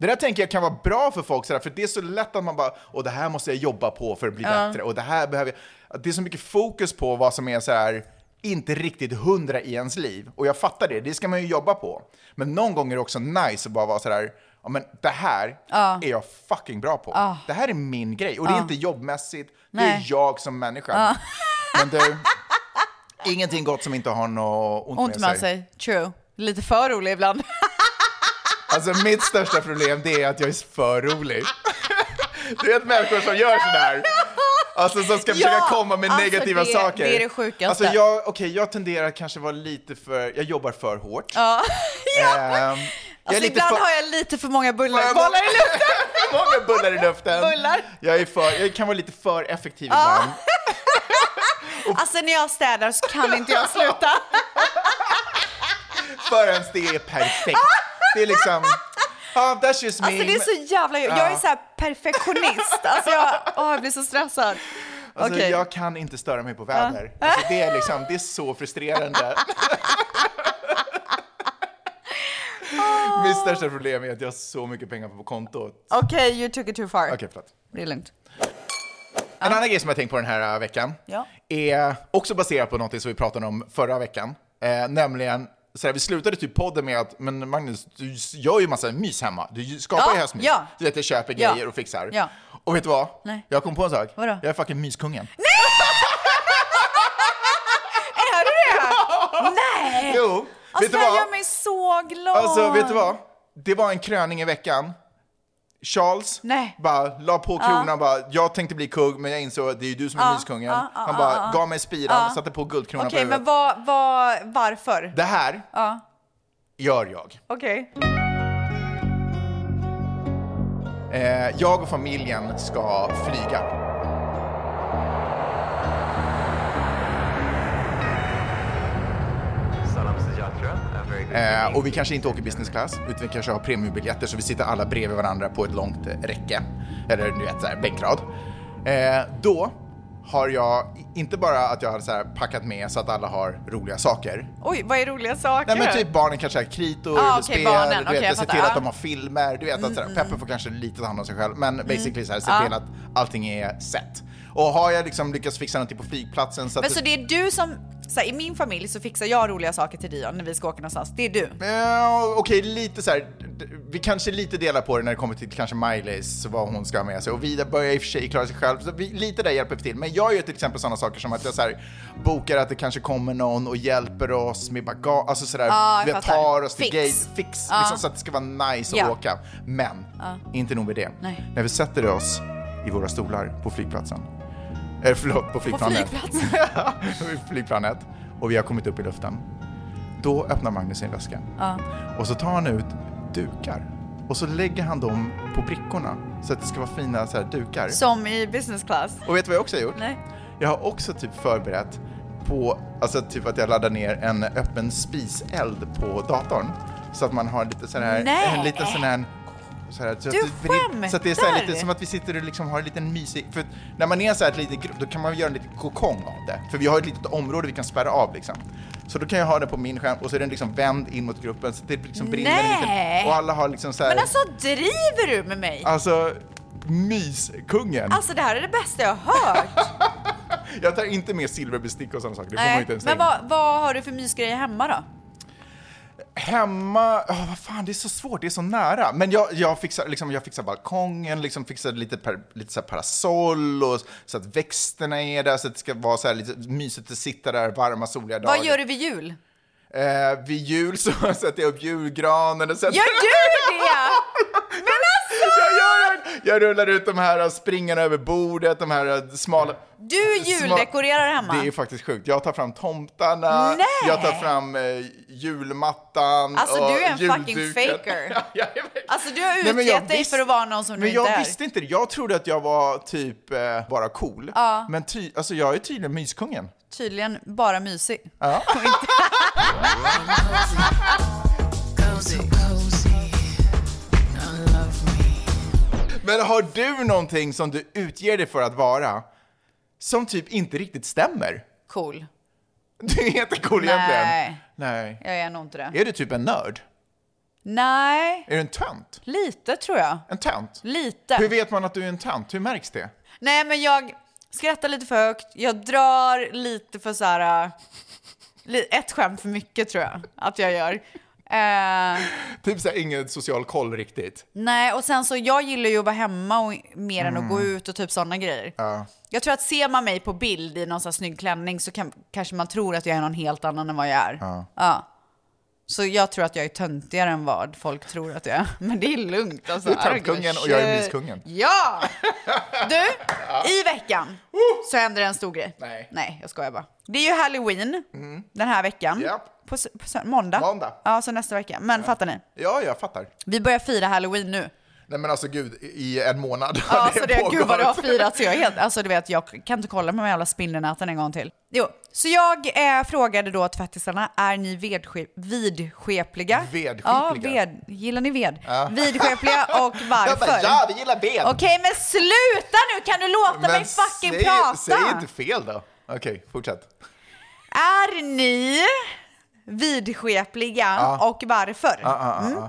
[SPEAKER 2] Det där tänker jag kan vara bra för folk, sådär, för det är så lätt att man bara, och det här måste jag jobba på för att bli
[SPEAKER 1] Ja.
[SPEAKER 2] bättre, och det här behöver jag. Att Det är så mycket fokus på vad som är så här inte riktigt hundra i ens liv. Och jag fattar det, det ska man ju jobba på. Men någon gång är det också nice att bara vara sådär, ja men det här är jag fucking bra på.
[SPEAKER 1] Ja.
[SPEAKER 2] Det här är min grej, och det är
[SPEAKER 1] Ja.
[SPEAKER 2] inte jobbmässigt, det är
[SPEAKER 1] Ah. Nej. Ah.
[SPEAKER 2] jag som människa.
[SPEAKER 1] Ja.
[SPEAKER 2] Men du, ingenting gott som inte har något ont,
[SPEAKER 1] Ont med sig. True. Lite för rolig
[SPEAKER 2] [laughs]
[SPEAKER 1] ibland.
[SPEAKER 2] Alltså mitt största problem det är att jag är för rolig. Du vet människor som gör sådär. Alltså som ska
[SPEAKER 1] Ja,
[SPEAKER 2] försöka komma med
[SPEAKER 1] alltså,
[SPEAKER 2] negativa
[SPEAKER 1] det-
[SPEAKER 2] saker.
[SPEAKER 1] det är det sjukaste.
[SPEAKER 2] Alltså jag, okej, jag tenderar att kanske vara lite för, jag jobbar för hårt.
[SPEAKER 1] Ja.
[SPEAKER 2] Ehm, jag
[SPEAKER 1] Alltså, ibland
[SPEAKER 2] för-
[SPEAKER 1] har jag lite för många bullar.
[SPEAKER 2] Många
[SPEAKER 1] Bollar i luften!
[SPEAKER 2] [laughs] Många bullar i luften.
[SPEAKER 1] Bullar.
[SPEAKER 2] Jag, är för, jag kan vara lite för effektiv
[SPEAKER 1] Ja.
[SPEAKER 2] ibland.
[SPEAKER 1] Alltså när jag städar så kan inte jag
[SPEAKER 2] [laughs]
[SPEAKER 1] sluta.
[SPEAKER 2] Förrän det är perfekt. Det är liksom, ah, that's just me.
[SPEAKER 1] Alltså det är så jävla... Jag är så här perfektionist. Alltså jag, åh, jag blir så stressad.
[SPEAKER 2] Alltså,
[SPEAKER 1] Okej.
[SPEAKER 2] Jag kan inte störa mig på väder. Alltså, det, är liksom, det är så frustrerande. Mitt största problem är att jag har så mycket pengar på kontot.
[SPEAKER 1] Okej, you took it too far.
[SPEAKER 2] Okej, förlåt.
[SPEAKER 1] Det är lugnt.
[SPEAKER 2] En annan grej som jag tänkt på den här äh, veckan
[SPEAKER 1] Ja.
[SPEAKER 2] är också baserat på något som vi pratade om förra veckan. Eh, nämligen, så här, vi slutade typ podden med att men Magnus, du s- gör ju massa mys hemma. Du skapar
[SPEAKER 1] Ja,
[SPEAKER 2] ju höstmys.
[SPEAKER 1] ja.
[SPEAKER 2] Du vet, jag köper
[SPEAKER 1] Ja.
[SPEAKER 2] grejer och fixar.
[SPEAKER 1] Ja.
[SPEAKER 2] Och vet du vad?
[SPEAKER 1] Nej.
[SPEAKER 2] Jag kom på en sak.
[SPEAKER 1] Vadå?
[SPEAKER 2] Jag är fucking myskungen.
[SPEAKER 1] Är du det? Nej!
[SPEAKER 2] Jo,
[SPEAKER 1] Alltså
[SPEAKER 2] vet
[SPEAKER 1] det
[SPEAKER 2] du
[SPEAKER 1] här
[SPEAKER 2] vad?
[SPEAKER 1] gör mig så glad.
[SPEAKER 2] Alltså, vet du vad? Det var en kröning i veckan. Charles bara la på kronan
[SPEAKER 1] Ja.
[SPEAKER 2] bara, jag tänkte bli kung men jag insåg att det är ju du som är
[SPEAKER 1] Ja,
[SPEAKER 2] myskungen.
[SPEAKER 1] ja, ja,
[SPEAKER 2] Han
[SPEAKER 1] ja,
[SPEAKER 2] bara
[SPEAKER 1] ja.
[SPEAKER 2] gav mig spiran,
[SPEAKER 1] Ja.
[SPEAKER 2] satte på guldkronan
[SPEAKER 1] Okej,
[SPEAKER 2] på huvudet.
[SPEAKER 1] men vad, vad, varför?
[SPEAKER 2] Det här
[SPEAKER 1] Ja,
[SPEAKER 2] gör jag.
[SPEAKER 1] okej.
[SPEAKER 2] Eh, jag och familjen ska flyga.
[SPEAKER 14] Salam Sejahtera. A very good
[SPEAKER 2] Eh, och vi kanske inte åker business class, utan vi kanske har premiumbiljetter så vi sitter alla bredvid varandra på ett långt eh, räcke. Eller du vet, så här, bänkrad. Eh, då har jag, inte bara att jag har så här packat med så att alla har roliga saker.
[SPEAKER 1] Oj, vad är roliga saker?
[SPEAKER 2] Nej men typ barnen kanske har kritor,
[SPEAKER 1] Ah, okej,
[SPEAKER 2] spel,
[SPEAKER 1] barnen.
[SPEAKER 2] du
[SPEAKER 1] Okej,
[SPEAKER 2] vet,
[SPEAKER 1] jag
[SPEAKER 2] se
[SPEAKER 1] fattar. Mm.
[SPEAKER 2] till
[SPEAKER 1] Ja.
[SPEAKER 2] att de har filmer, du vet att så här, Pepper får kanske lite ta hand om sig själv,
[SPEAKER 1] Mm.
[SPEAKER 2] men basically så här, se
[SPEAKER 1] Ja.
[SPEAKER 2] till att allting är sett. Och har jag liksom lyckats fixa någonting på flygplatsen så att...
[SPEAKER 1] Men så det är du som, så här, i min familj så fixar jag roliga saker till dig när vi ska åka någonstans. Det är du.
[SPEAKER 2] Ja, okej, lite så här. d- Vi kanske lite delar på det när det kommer till kanske Miley's, vad hon ska ha med sig. Och Vida börjar i och för sig klara sig själv, så vi, lite där hjälper vi till. Men jag gör till exempel sådana saker som att jag så här, bokar att det kanske kommer någon och hjälper oss med bagage, alltså sådär,
[SPEAKER 1] Ja, jag
[SPEAKER 2] vi
[SPEAKER 1] fattar.
[SPEAKER 2] tar oss till
[SPEAKER 1] Fix.
[SPEAKER 2] gate, fix,
[SPEAKER 1] Ja.
[SPEAKER 2] liksom, så att det ska vara nice att
[SPEAKER 1] Ja.
[SPEAKER 2] åka. Men,
[SPEAKER 1] Ja.
[SPEAKER 2] inte nog med det.
[SPEAKER 1] Nej.
[SPEAKER 2] När vi sätter oss i våra stolar på flygplatsen, eh, förlåt, på flygplanet. [laughs] flygplanet och vi har kommit upp i luften. Då öppnar Magnus sin väska.
[SPEAKER 1] Ja.
[SPEAKER 2] Och så tar han ut dukar. Och så lägger han dem på brickorna så att det ska vara fina så här dukar.
[SPEAKER 1] Som i business class.
[SPEAKER 2] Och vet du vad jag också har gjort?
[SPEAKER 1] Nej.
[SPEAKER 2] Jag har också typ förberett på, alltså typ att jag laddar ner en öppen spiseld på datorn. Så att man har lite sån här,
[SPEAKER 1] Nej.
[SPEAKER 2] en liten sån här så här, så
[SPEAKER 1] Du
[SPEAKER 2] att det, så att det är så här lite
[SPEAKER 1] skämtar!
[SPEAKER 2] som att vi sitter och liksom har en liten mysig... För att när man är så här ett litet grupp, då kan man göra en liten kokong av det. För vi har ett litet område vi kan spärra av liksom. Så då kan jag ha den på min skärm och så är den liksom vänd in mot gruppen så att det liksom brinner en
[SPEAKER 1] Nej.
[SPEAKER 2] liten... Och alla har liksom så här...
[SPEAKER 1] Men alltså driver du med mig?
[SPEAKER 2] Alltså, myskungen!
[SPEAKER 1] Alltså det här är det bästa jag har
[SPEAKER 2] [laughs]
[SPEAKER 1] hört.
[SPEAKER 2] Jag tar inte med silverbestick och sådana saker, det får man ju
[SPEAKER 1] Nej,
[SPEAKER 2] inte ens
[SPEAKER 1] men
[SPEAKER 2] ta in.
[SPEAKER 1] vad, vad har du för mysgrejer hemma då?
[SPEAKER 2] Hemma, oh, vad fan det är så svårt, det är så nära. Men jag, jag, fixar, liksom, jag fixar balkongen, liksom, fixar lite, per, lite så här parasoll och, så att växterna är där, så att det ska vara så här lite mysigt att sitta där varma soliga dagar.
[SPEAKER 1] Vad gör du vid jul?
[SPEAKER 2] Eh, vid jul så [laughs] sätter jag upp julgranen och sätter...
[SPEAKER 1] Gör du det? Men alltså!
[SPEAKER 2] [laughs] Jag, gör, jag rullar ut de här springarna över bordet, de här eh, smala...
[SPEAKER 1] Du
[SPEAKER 2] [laughs]
[SPEAKER 1] juldekorerar hemma?
[SPEAKER 2] Det är faktiskt sjukt. Jag tar fram tomtarna,
[SPEAKER 1] Nej.
[SPEAKER 2] jag tar fram eh, julmattan
[SPEAKER 1] Alltså
[SPEAKER 2] och
[SPEAKER 1] du är en fucking
[SPEAKER 2] julduken. [laughs]
[SPEAKER 1] faker. Alltså du har
[SPEAKER 2] Nej,
[SPEAKER 1] utgett
[SPEAKER 2] men jag
[SPEAKER 1] dig
[SPEAKER 2] visst-
[SPEAKER 1] för att vara någon som du
[SPEAKER 2] Men jag
[SPEAKER 1] inte är.
[SPEAKER 2] visste inte det. Jag trodde att jag var typ eh, bara cool.
[SPEAKER 1] Ja.
[SPEAKER 2] Men ty- alltså, jag är tydligen myskungen.
[SPEAKER 1] Tydligen bara mysig.
[SPEAKER 2] Ja. Men har du någonting som du utger dig för att vara som typ inte riktigt stämmer? [laughs]
[SPEAKER 1] Cool.
[SPEAKER 2] Du är inte cool egentligen.
[SPEAKER 1] Nej,
[SPEAKER 2] Nej.
[SPEAKER 1] jag är nog inte det.
[SPEAKER 2] Är du typ en nörd?
[SPEAKER 1] Nej,
[SPEAKER 2] Är du en tönt?
[SPEAKER 1] lite tror jag.
[SPEAKER 2] En tönt?
[SPEAKER 1] Lite.
[SPEAKER 2] Hur vet man att du är en tönt? Hur märks det?
[SPEAKER 1] Nej men jag skrattar lite för högt, jag drar lite för så här... äh, li- Ett skämt för mycket tror jag att jag gör. Eh,
[SPEAKER 2] Typ såhär, ingen social koll riktigt.
[SPEAKER 1] nej och sen så jag gillar ju att vara hemma och, mer än att gå
[SPEAKER 2] Mm.
[SPEAKER 1] ut och typ sådana grejer.
[SPEAKER 2] Ja.
[SPEAKER 1] Jag tror att ser man mig på bild i någon sån här snygg klänning så kan, kanske man tror att jag är någon helt annan än vad jag är.
[SPEAKER 2] Ja.
[SPEAKER 1] Ja. Så jag tror att jag är töntigare än vad folk tror att jag är. [laughs] Men det är lugnt alltså.
[SPEAKER 2] Du är töntkungen och jag är myskungen.
[SPEAKER 1] Ja!
[SPEAKER 2] [laughs]
[SPEAKER 1] Du, i veckan
[SPEAKER 2] Uh!
[SPEAKER 1] så händer det en stor grej. Nej. Nej, jag skojar bara. Det är ju halloween den här veckan. På, s- på sö- måndag.
[SPEAKER 2] Mm. Måndag.
[SPEAKER 1] Ja, så nästa vecka. Men fattar ni?
[SPEAKER 2] Ja, jag fattar.
[SPEAKER 1] Vi börjar fira halloween nu.
[SPEAKER 2] Nej men alltså gud, i en månad [laughs]
[SPEAKER 1] Ja, alltså det,
[SPEAKER 2] pågått.
[SPEAKER 1] gud vad det har firats. Jag, är helt, alltså, du vet, jag kan inte kolla med de jävla spindelnäten en gång till. Jo, så jag eh, frågade då tvättisarna, är ni vedske- vidskepliga? Ja, ved, gillar ni ved?
[SPEAKER 2] Ja. [laughs]
[SPEAKER 1] Vidskepliga och
[SPEAKER 2] [laughs] Jag
[SPEAKER 1] varför?
[SPEAKER 2] bara, ja, vi gillar ved!
[SPEAKER 1] Okej, men sluta nu! Kan du låta mig fucking
[SPEAKER 2] säg,
[SPEAKER 1] prata?
[SPEAKER 2] Säg inte fel då. Okej, fortsätt.
[SPEAKER 1] Är ni vidskepliga
[SPEAKER 2] Ja.
[SPEAKER 1] och varför?
[SPEAKER 2] Ah, ah, ah,
[SPEAKER 1] Mm.
[SPEAKER 2] ah.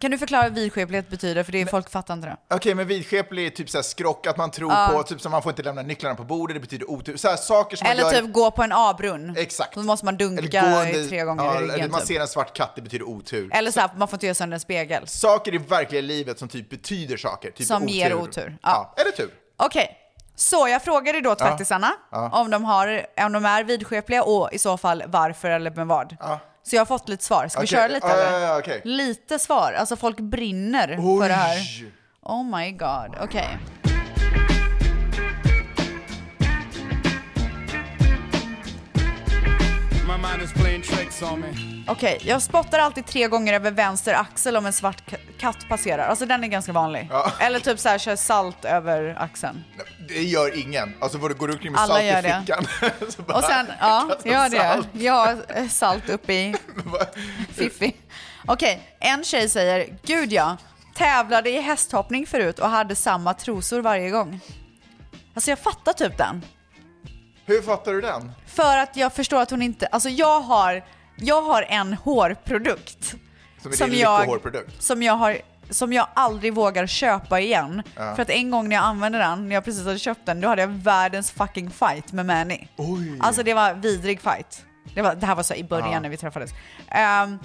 [SPEAKER 1] Kan du förklara vad vidskeplighet betyder? För det är folk fattar inte det.
[SPEAKER 2] Okej, men vidskeplig är typ såhär skrock, att man tror
[SPEAKER 1] Ja.
[SPEAKER 2] på, typ som man får inte lämna nycklarna på bordet, det betyder otur. Såhär saker som
[SPEAKER 1] Eller
[SPEAKER 2] man gör...
[SPEAKER 1] typ gå på en A-brunn.
[SPEAKER 2] Exakt.
[SPEAKER 1] Då måste man
[SPEAKER 2] eller
[SPEAKER 1] dunka
[SPEAKER 2] gå under-
[SPEAKER 1] tre gånger
[SPEAKER 2] ja,
[SPEAKER 1] i
[SPEAKER 2] eller
[SPEAKER 1] ryggen.
[SPEAKER 2] Man
[SPEAKER 1] typ.
[SPEAKER 2] ser en svart katt, det betyder otur.
[SPEAKER 1] Eller så här, man får inte göra sönder en spegel.
[SPEAKER 2] Saker i verkliga livet som typ betyder saker. Typ
[SPEAKER 1] Som
[SPEAKER 2] otur.
[SPEAKER 1] ger otur.
[SPEAKER 2] Ja. Eller tur.
[SPEAKER 1] Okej, så jag frågade då tvättisarna
[SPEAKER 2] Ja.
[SPEAKER 1] Om, de har, om de är vidskepliga och i så fall varför eller med vad. Så jag har fått lite svar. Ska vi
[SPEAKER 2] Okej.
[SPEAKER 1] köra lite
[SPEAKER 2] Ja,
[SPEAKER 1] eller?
[SPEAKER 2] ja, ja, okej.
[SPEAKER 1] Lite svar. Alltså folk brinner för det här. Oh my god. Okej.
[SPEAKER 16] My mind is playing tricks on me.
[SPEAKER 1] Okej, jag spottar alltid tre gånger över vänster axel om en svart k- katt passerar. Alltså den är ganska vanlig. Eller typ så här, kör salt över axeln.
[SPEAKER 2] Det gör ingen. Alltså vad du går omkring med
[SPEAKER 1] Alla
[SPEAKER 2] salt
[SPEAKER 1] gör
[SPEAKER 2] i
[SPEAKER 1] det.
[SPEAKER 2] fickan. [laughs] Så bara-
[SPEAKER 1] Och sen, ja,
[SPEAKER 2] [laughs] kasta
[SPEAKER 1] gör det.
[SPEAKER 2] salt.
[SPEAKER 1] Jag har eh, salt upp i Fiffi. Okej, en tjej säger, gud ja, tävlade i hästhoppning förut och hade samma trosor varje gång. Alltså jag fattar typ den.
[SPEAKER 2] Hur fattar du den?
[SPEAKER 1] För att jag förstår att hon inte, alltså jag har, jag har en hårprodukt.
[SPEAKER 2] Som är din lyckohårprodukt?
[SPEAKER 1] Som jag har som jag aldrig vågar köpa igen.
[SPEAKER 2] Ja.
[SPEAKER 1] För att en gång när jag använde den, när jag precis hade köpt den, då hade jag världens fucking fight med Manny. Alltså det var vidrig fight. Det, var, det här var så i början
[SPEAKER 2] Ja.
[SPEAKER 1] när vi träffades. Ehm,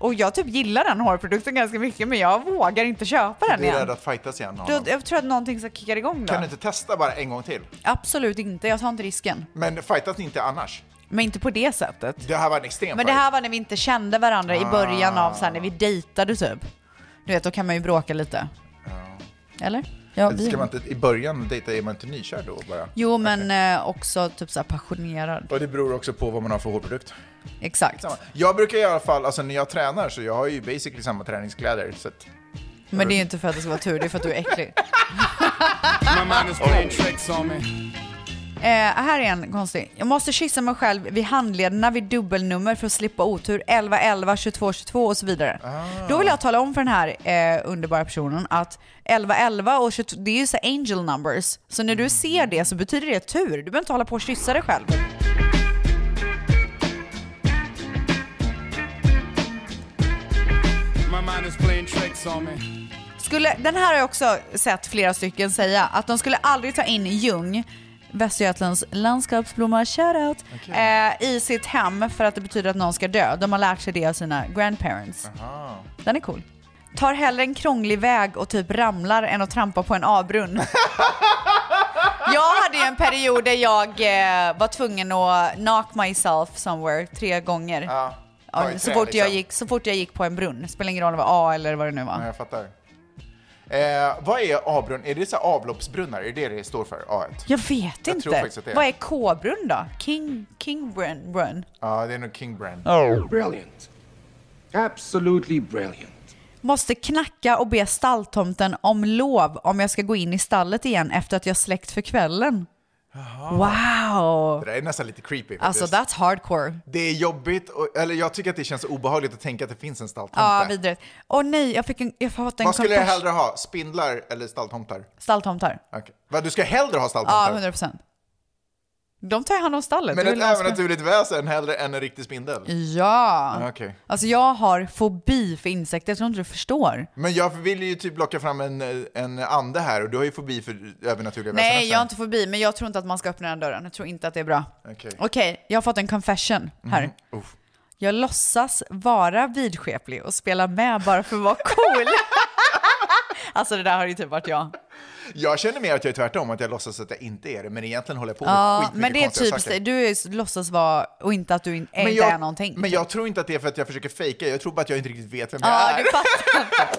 [SPEAKER 1] och jag typ gillar den hårprodukten ganska mycket men jag vågar inte köpa den
[SPEAKER 2] Du är rädd
[SPEAKER 1] igen.
[SPEAKER 2] att fightas igen? med
[SPEAKER 1] Då,
[SPEAKER 2] honom.
[SPEAKER 1] jag tror att någonting ska kicka igång då.
[SPEAKER 2] Kan du inte testa bara en gång till?
[SPEAKER 1] Absolut inte, jag tar inte risken.
[SPEAKER 2] Men fightas ni inte annars?
[SPEAKER 1] Men inte på det sättet.
[SPEAKER 2] Det här var en extrem
[SPEAKER 1] Men det här var när vi inte kände varandra i början av
[SPEAKER 2] Ah.
[SPEAKER 1] så här, när vi dejtade typ. Du vet, då kan man ju bråka lite. Eller? Ja, vi...
[SPEAKER 2] Ska man inte, I början dejta är man inte nykär då bara?
[SPEAKER 1] Jo, men eh, också typ så här passionerad.
[SPEAKER 2] Och det beror också på vad man har för hårprodukt.
[SPEAKER 1] Exakt.
[SPEAKER 2] Jag brukar i alla fall, alltså när jag tränar så jag har ju basically samma träningskläder. Så att,
[SPEAKER 1] Men det är ju inte för att det ska vara tur, det är för att du är
[SPEAKER 2] [laughs]
[SPEAKER 1] äcklig.
[SPEAKER 16] My mind is playing tricks on me.
[SPEAKER 1] Eh, här är en konstig. Jag måste kyssa mig själv vid handlederna vid dubbelnummer för att slippa otur 11, 11, 22, 22 och så vidare.
[SPEAKER 2] Ah.
[SPEAKER 1] Då vill jag tala om för den här eh, underbara personen att 11, 11 och 22, det är ju så här angel numbers. Så när
[SPEAKER 2] Mm.
[SPEAKER 1] du ser det så betyder det tur. Du behöver inte hålla på och kyssa dig själv.
[SPEAKER 16] My mind is playing tricks on me.
[SPEAKER 1] Skulle, den här har jag också sett flera stycken säga, att de skulle aldrig ta in Ljung, Västergötlands landskapsblomma, shoutout, eh, i sitt hem för att det betyder att någon ska dö. De har lärt sig det av sina grandparents. Den är cool. Tar hellre en krånglig väg och typ ramlar än att trampa på en avbrunn. jag hade ju en period där jag eh, var tvungen att knock myself somewhere tre gånger. Ja,
[SPEAKER 2] Ta i
[SPEAKER 1] så,
[SPEAKER 2] trä,
[SPEAKER 1] fort jag
[SPEAKER 2] liksom.
[SPEAKER 1] gick, så fort jag gick på en brunn. Spelar ingen roll om det var A eller vad det nu var.
[SPEAKER 2] Ja, jag fattar. Eh, vad är A-brunn? Är det så här avloppsbrunnar? Är det det det står för? A1?
[SPEAKER 1] Jag vet
[SPEAKER 2] Jag tror
[SPEAKER 1] inte.
[SPEAKER 2] faktiskt att det är.
[SPEAKER 1] Vad är K-brunn då? King, King brun, brun.
[SPEAKER 2] Ja, det är nog King Brand.
[SPEAKER 17] Brilliant. Absolutely brilliant.
[SPEAKER 1] Måste knacka och be stalltomten om lov om jag ska gå in i stallet igen efter att jag släckt för kvällen. Wow!
[SPEAKER 2] Det där är nästan lite creepy
[SPEAKER 1] Alltså
[SPEAKER 2] faktiskt.
[SPEAKER 1] that's hardcore.
[SPEAKER 2] Det är jobbigt, och, eller jag tycker att det känns obehagligt att tänka att det finns en stalltomte.
[SPEAKER 1] Ja, vidrigt. Åh nej, jag fick en... Jag har fått en
[SPEAKER 2] Vad skulle du
[SPEAKER 1] kompers-
[SPEAKER 2] hellre ha? Spindlar eller stalltomtar?
[SPEAKER 1] Stalltomtar.
[SPEAKER 2] Okej. Vad, du ska hellre ha
[SPEAKER 1] Ja,
[SPEAKER 2] stalltomtar?
[SPEAKER 1] 100 procent. De tar ju hand om stallet.
[SPEAKER 2] Men
[SPEAKER 1] Det är
[SPEAKER 2] ett
[SPEAKER 1] väl ganska-
[SPEAKER 2] övernaturligt väsen hellre än en riktig spindel?
[SPEAKER 1] Ja.
[SPEAKER 2] Ah, okej.
[SPEAKER 1] Alltså jag har fobi för insekter, jag tror inte du förstår.
[SPEAKER 2] Men jag vill ju typ locka fram en, en ande här och du har ju fobi för övernaturliga väsen.
[SPEAKER 1] Nej, jag har inte fobi, men jag tror inte att man ska öppna den dörren. Jag tror inte att det är bra.
[SPEAKER 2] Okej.
[SPEAKER 1] Okej, jag har fått en confession här.
[SPEAKER 2] Mhm. Uff.
[SPEAKER 1] Jag låtsas vara vidskeplig och spela med bara för att vara cool. [laughs] alltså det där har ju typ varit jag.
[SPEAKER 2] Jag känner mer att jag är tvärtom, att jag låtsas att jag inte är det, men egentligen håller jag på med
[SPEAKER 1] Ja,
[SPEAKER 2] skitmycket
[SPEAKER 1] men det är
[SPEAKER 2] konstiga
[SPEAKER 1] typ,
[SPEAKER 2] saker.
[SPEAKER 1] du är, låtsas vara och inte att du in,
[SPEAKER 2] Men
[SPEAKER 1] inte
[SPEAKER 2] jag-
[SPEAKER 1] är någonting. typ.
[SPEAKER 2] Men jag tror inte att det är för att jag försöker fejka, jag tror bara att jag inte riktigt vet vem jag
[SPEAKER 1] Ja,
[SPEAKER 2] är.
[SPEAKER 1] du fattar.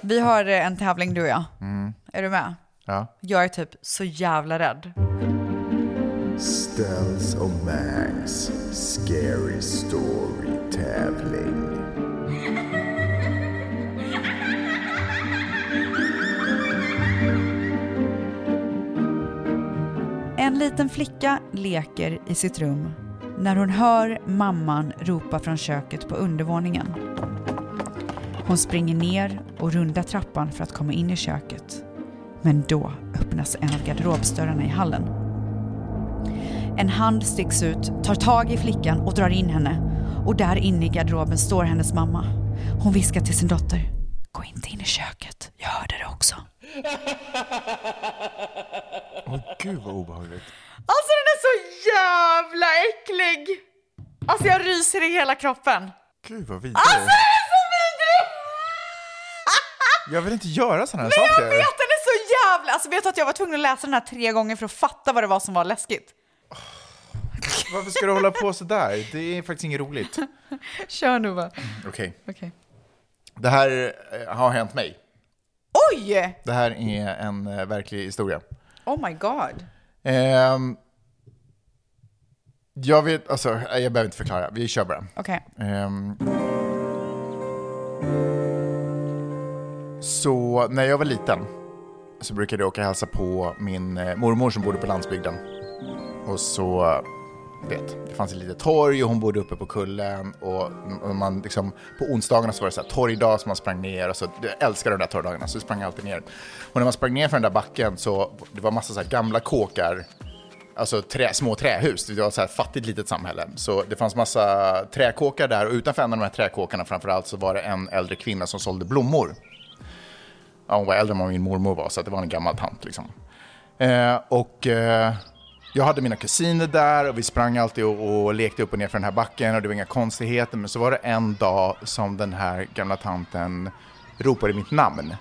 [SPEAKER 1] Vi har eh, en tävling du och jag.
[SPEAKER 2] Mm.
[SPEAKER 1] Är du med?
[SPEAKER 2] Ja.
[SPEAKER 1] Jag är typ så jävla rädd.
[SPEAKER 15] Ställs och Max Scary Story tävling.
[SPEAKER 1] En liten flicka leker i sitt rum när hon hör mamman ropa från köket på undervåningen. Hon springer ner och rundar trappan för att komma in i köket. Men då öppnas en av garderobsdörrarna i hallen. En hand sticks ut, tar tag i flickan och drar in henne. Och där inne i garderoben står hennes mamma. Hon viskar till sin dotter. Gå inte in i köket. Jag hörde det också.
[SPEAKER 2] Åh gud vad obehagligt.
[SPEAKER 1] Alltså den är så jävla äcklig! Alltså jag ryser i hela kroppen.
[SPEAKER 2] Gud vad vidrigt.
[SPEAKER 1] Alltså den är så vidrig!
[SPEAKER 2] Jag vill inte göra sådana här
[SPEAKER 1] Men jag
[SPEAKER 2] saker.
[SPEAKER 1] vet, den är så jävla... Alltså vet du att jag var tvungen att läsa den här tre gånger för att fatta vad det var som var läskigt?
[SPEAKER 2] Varför ska du hålla på sådär? Det är faktiskt inget roligt.
[SPEAKER 1] Kör nu bara.
[SPEAKER 2] Okej.
[SPEAKER 1] Okej.
[SPEAKER 2] Det här eh, har hänt mig.
[SPEAKER 1] Oj!
[SPEAKER 2] Det här är en eh, verklig historia.
[SPEAKER 1] Oh my god.
[SPEAKER 2] Ehm, jag vet, alltså eh, jag behöver inte förklara, vi kör bara.
[SPEAKER 1] Okej.
[SPEAKER 2] Ehm. så när jag var liten så brukade jag åka och hälsa på min eh, mormor som bodde på landsbygden. Och så, vet, det fanns ett litet torg och hon bodde uppe på kullen och och man liksom, på onsdagarna så var det så här torgdag så man sprang ner och så, jag älskar de där torgdagarna så vi sprang alltid ner. Och när man sprang ner för den där backen så, det var massa så här gamla kåkar Alltså trä, små trähus, det var så här ett fattigt litet samhälle. Så det fanns massa träkåkar där och utanför en av de här träkåkarna framförallt så var det en äldre kvinna som sålde blommor. Ja, hon var äldre än vad min mormor var, så att det var en gammal tant. Liksom. Eh, och eh, jag hade mina kusiner där och vi sprang alltid och, och lekte upp och ner för den här backen och det var inga konstigheter. Men så var det en dag som den här gamla tanten ropade mitt namn.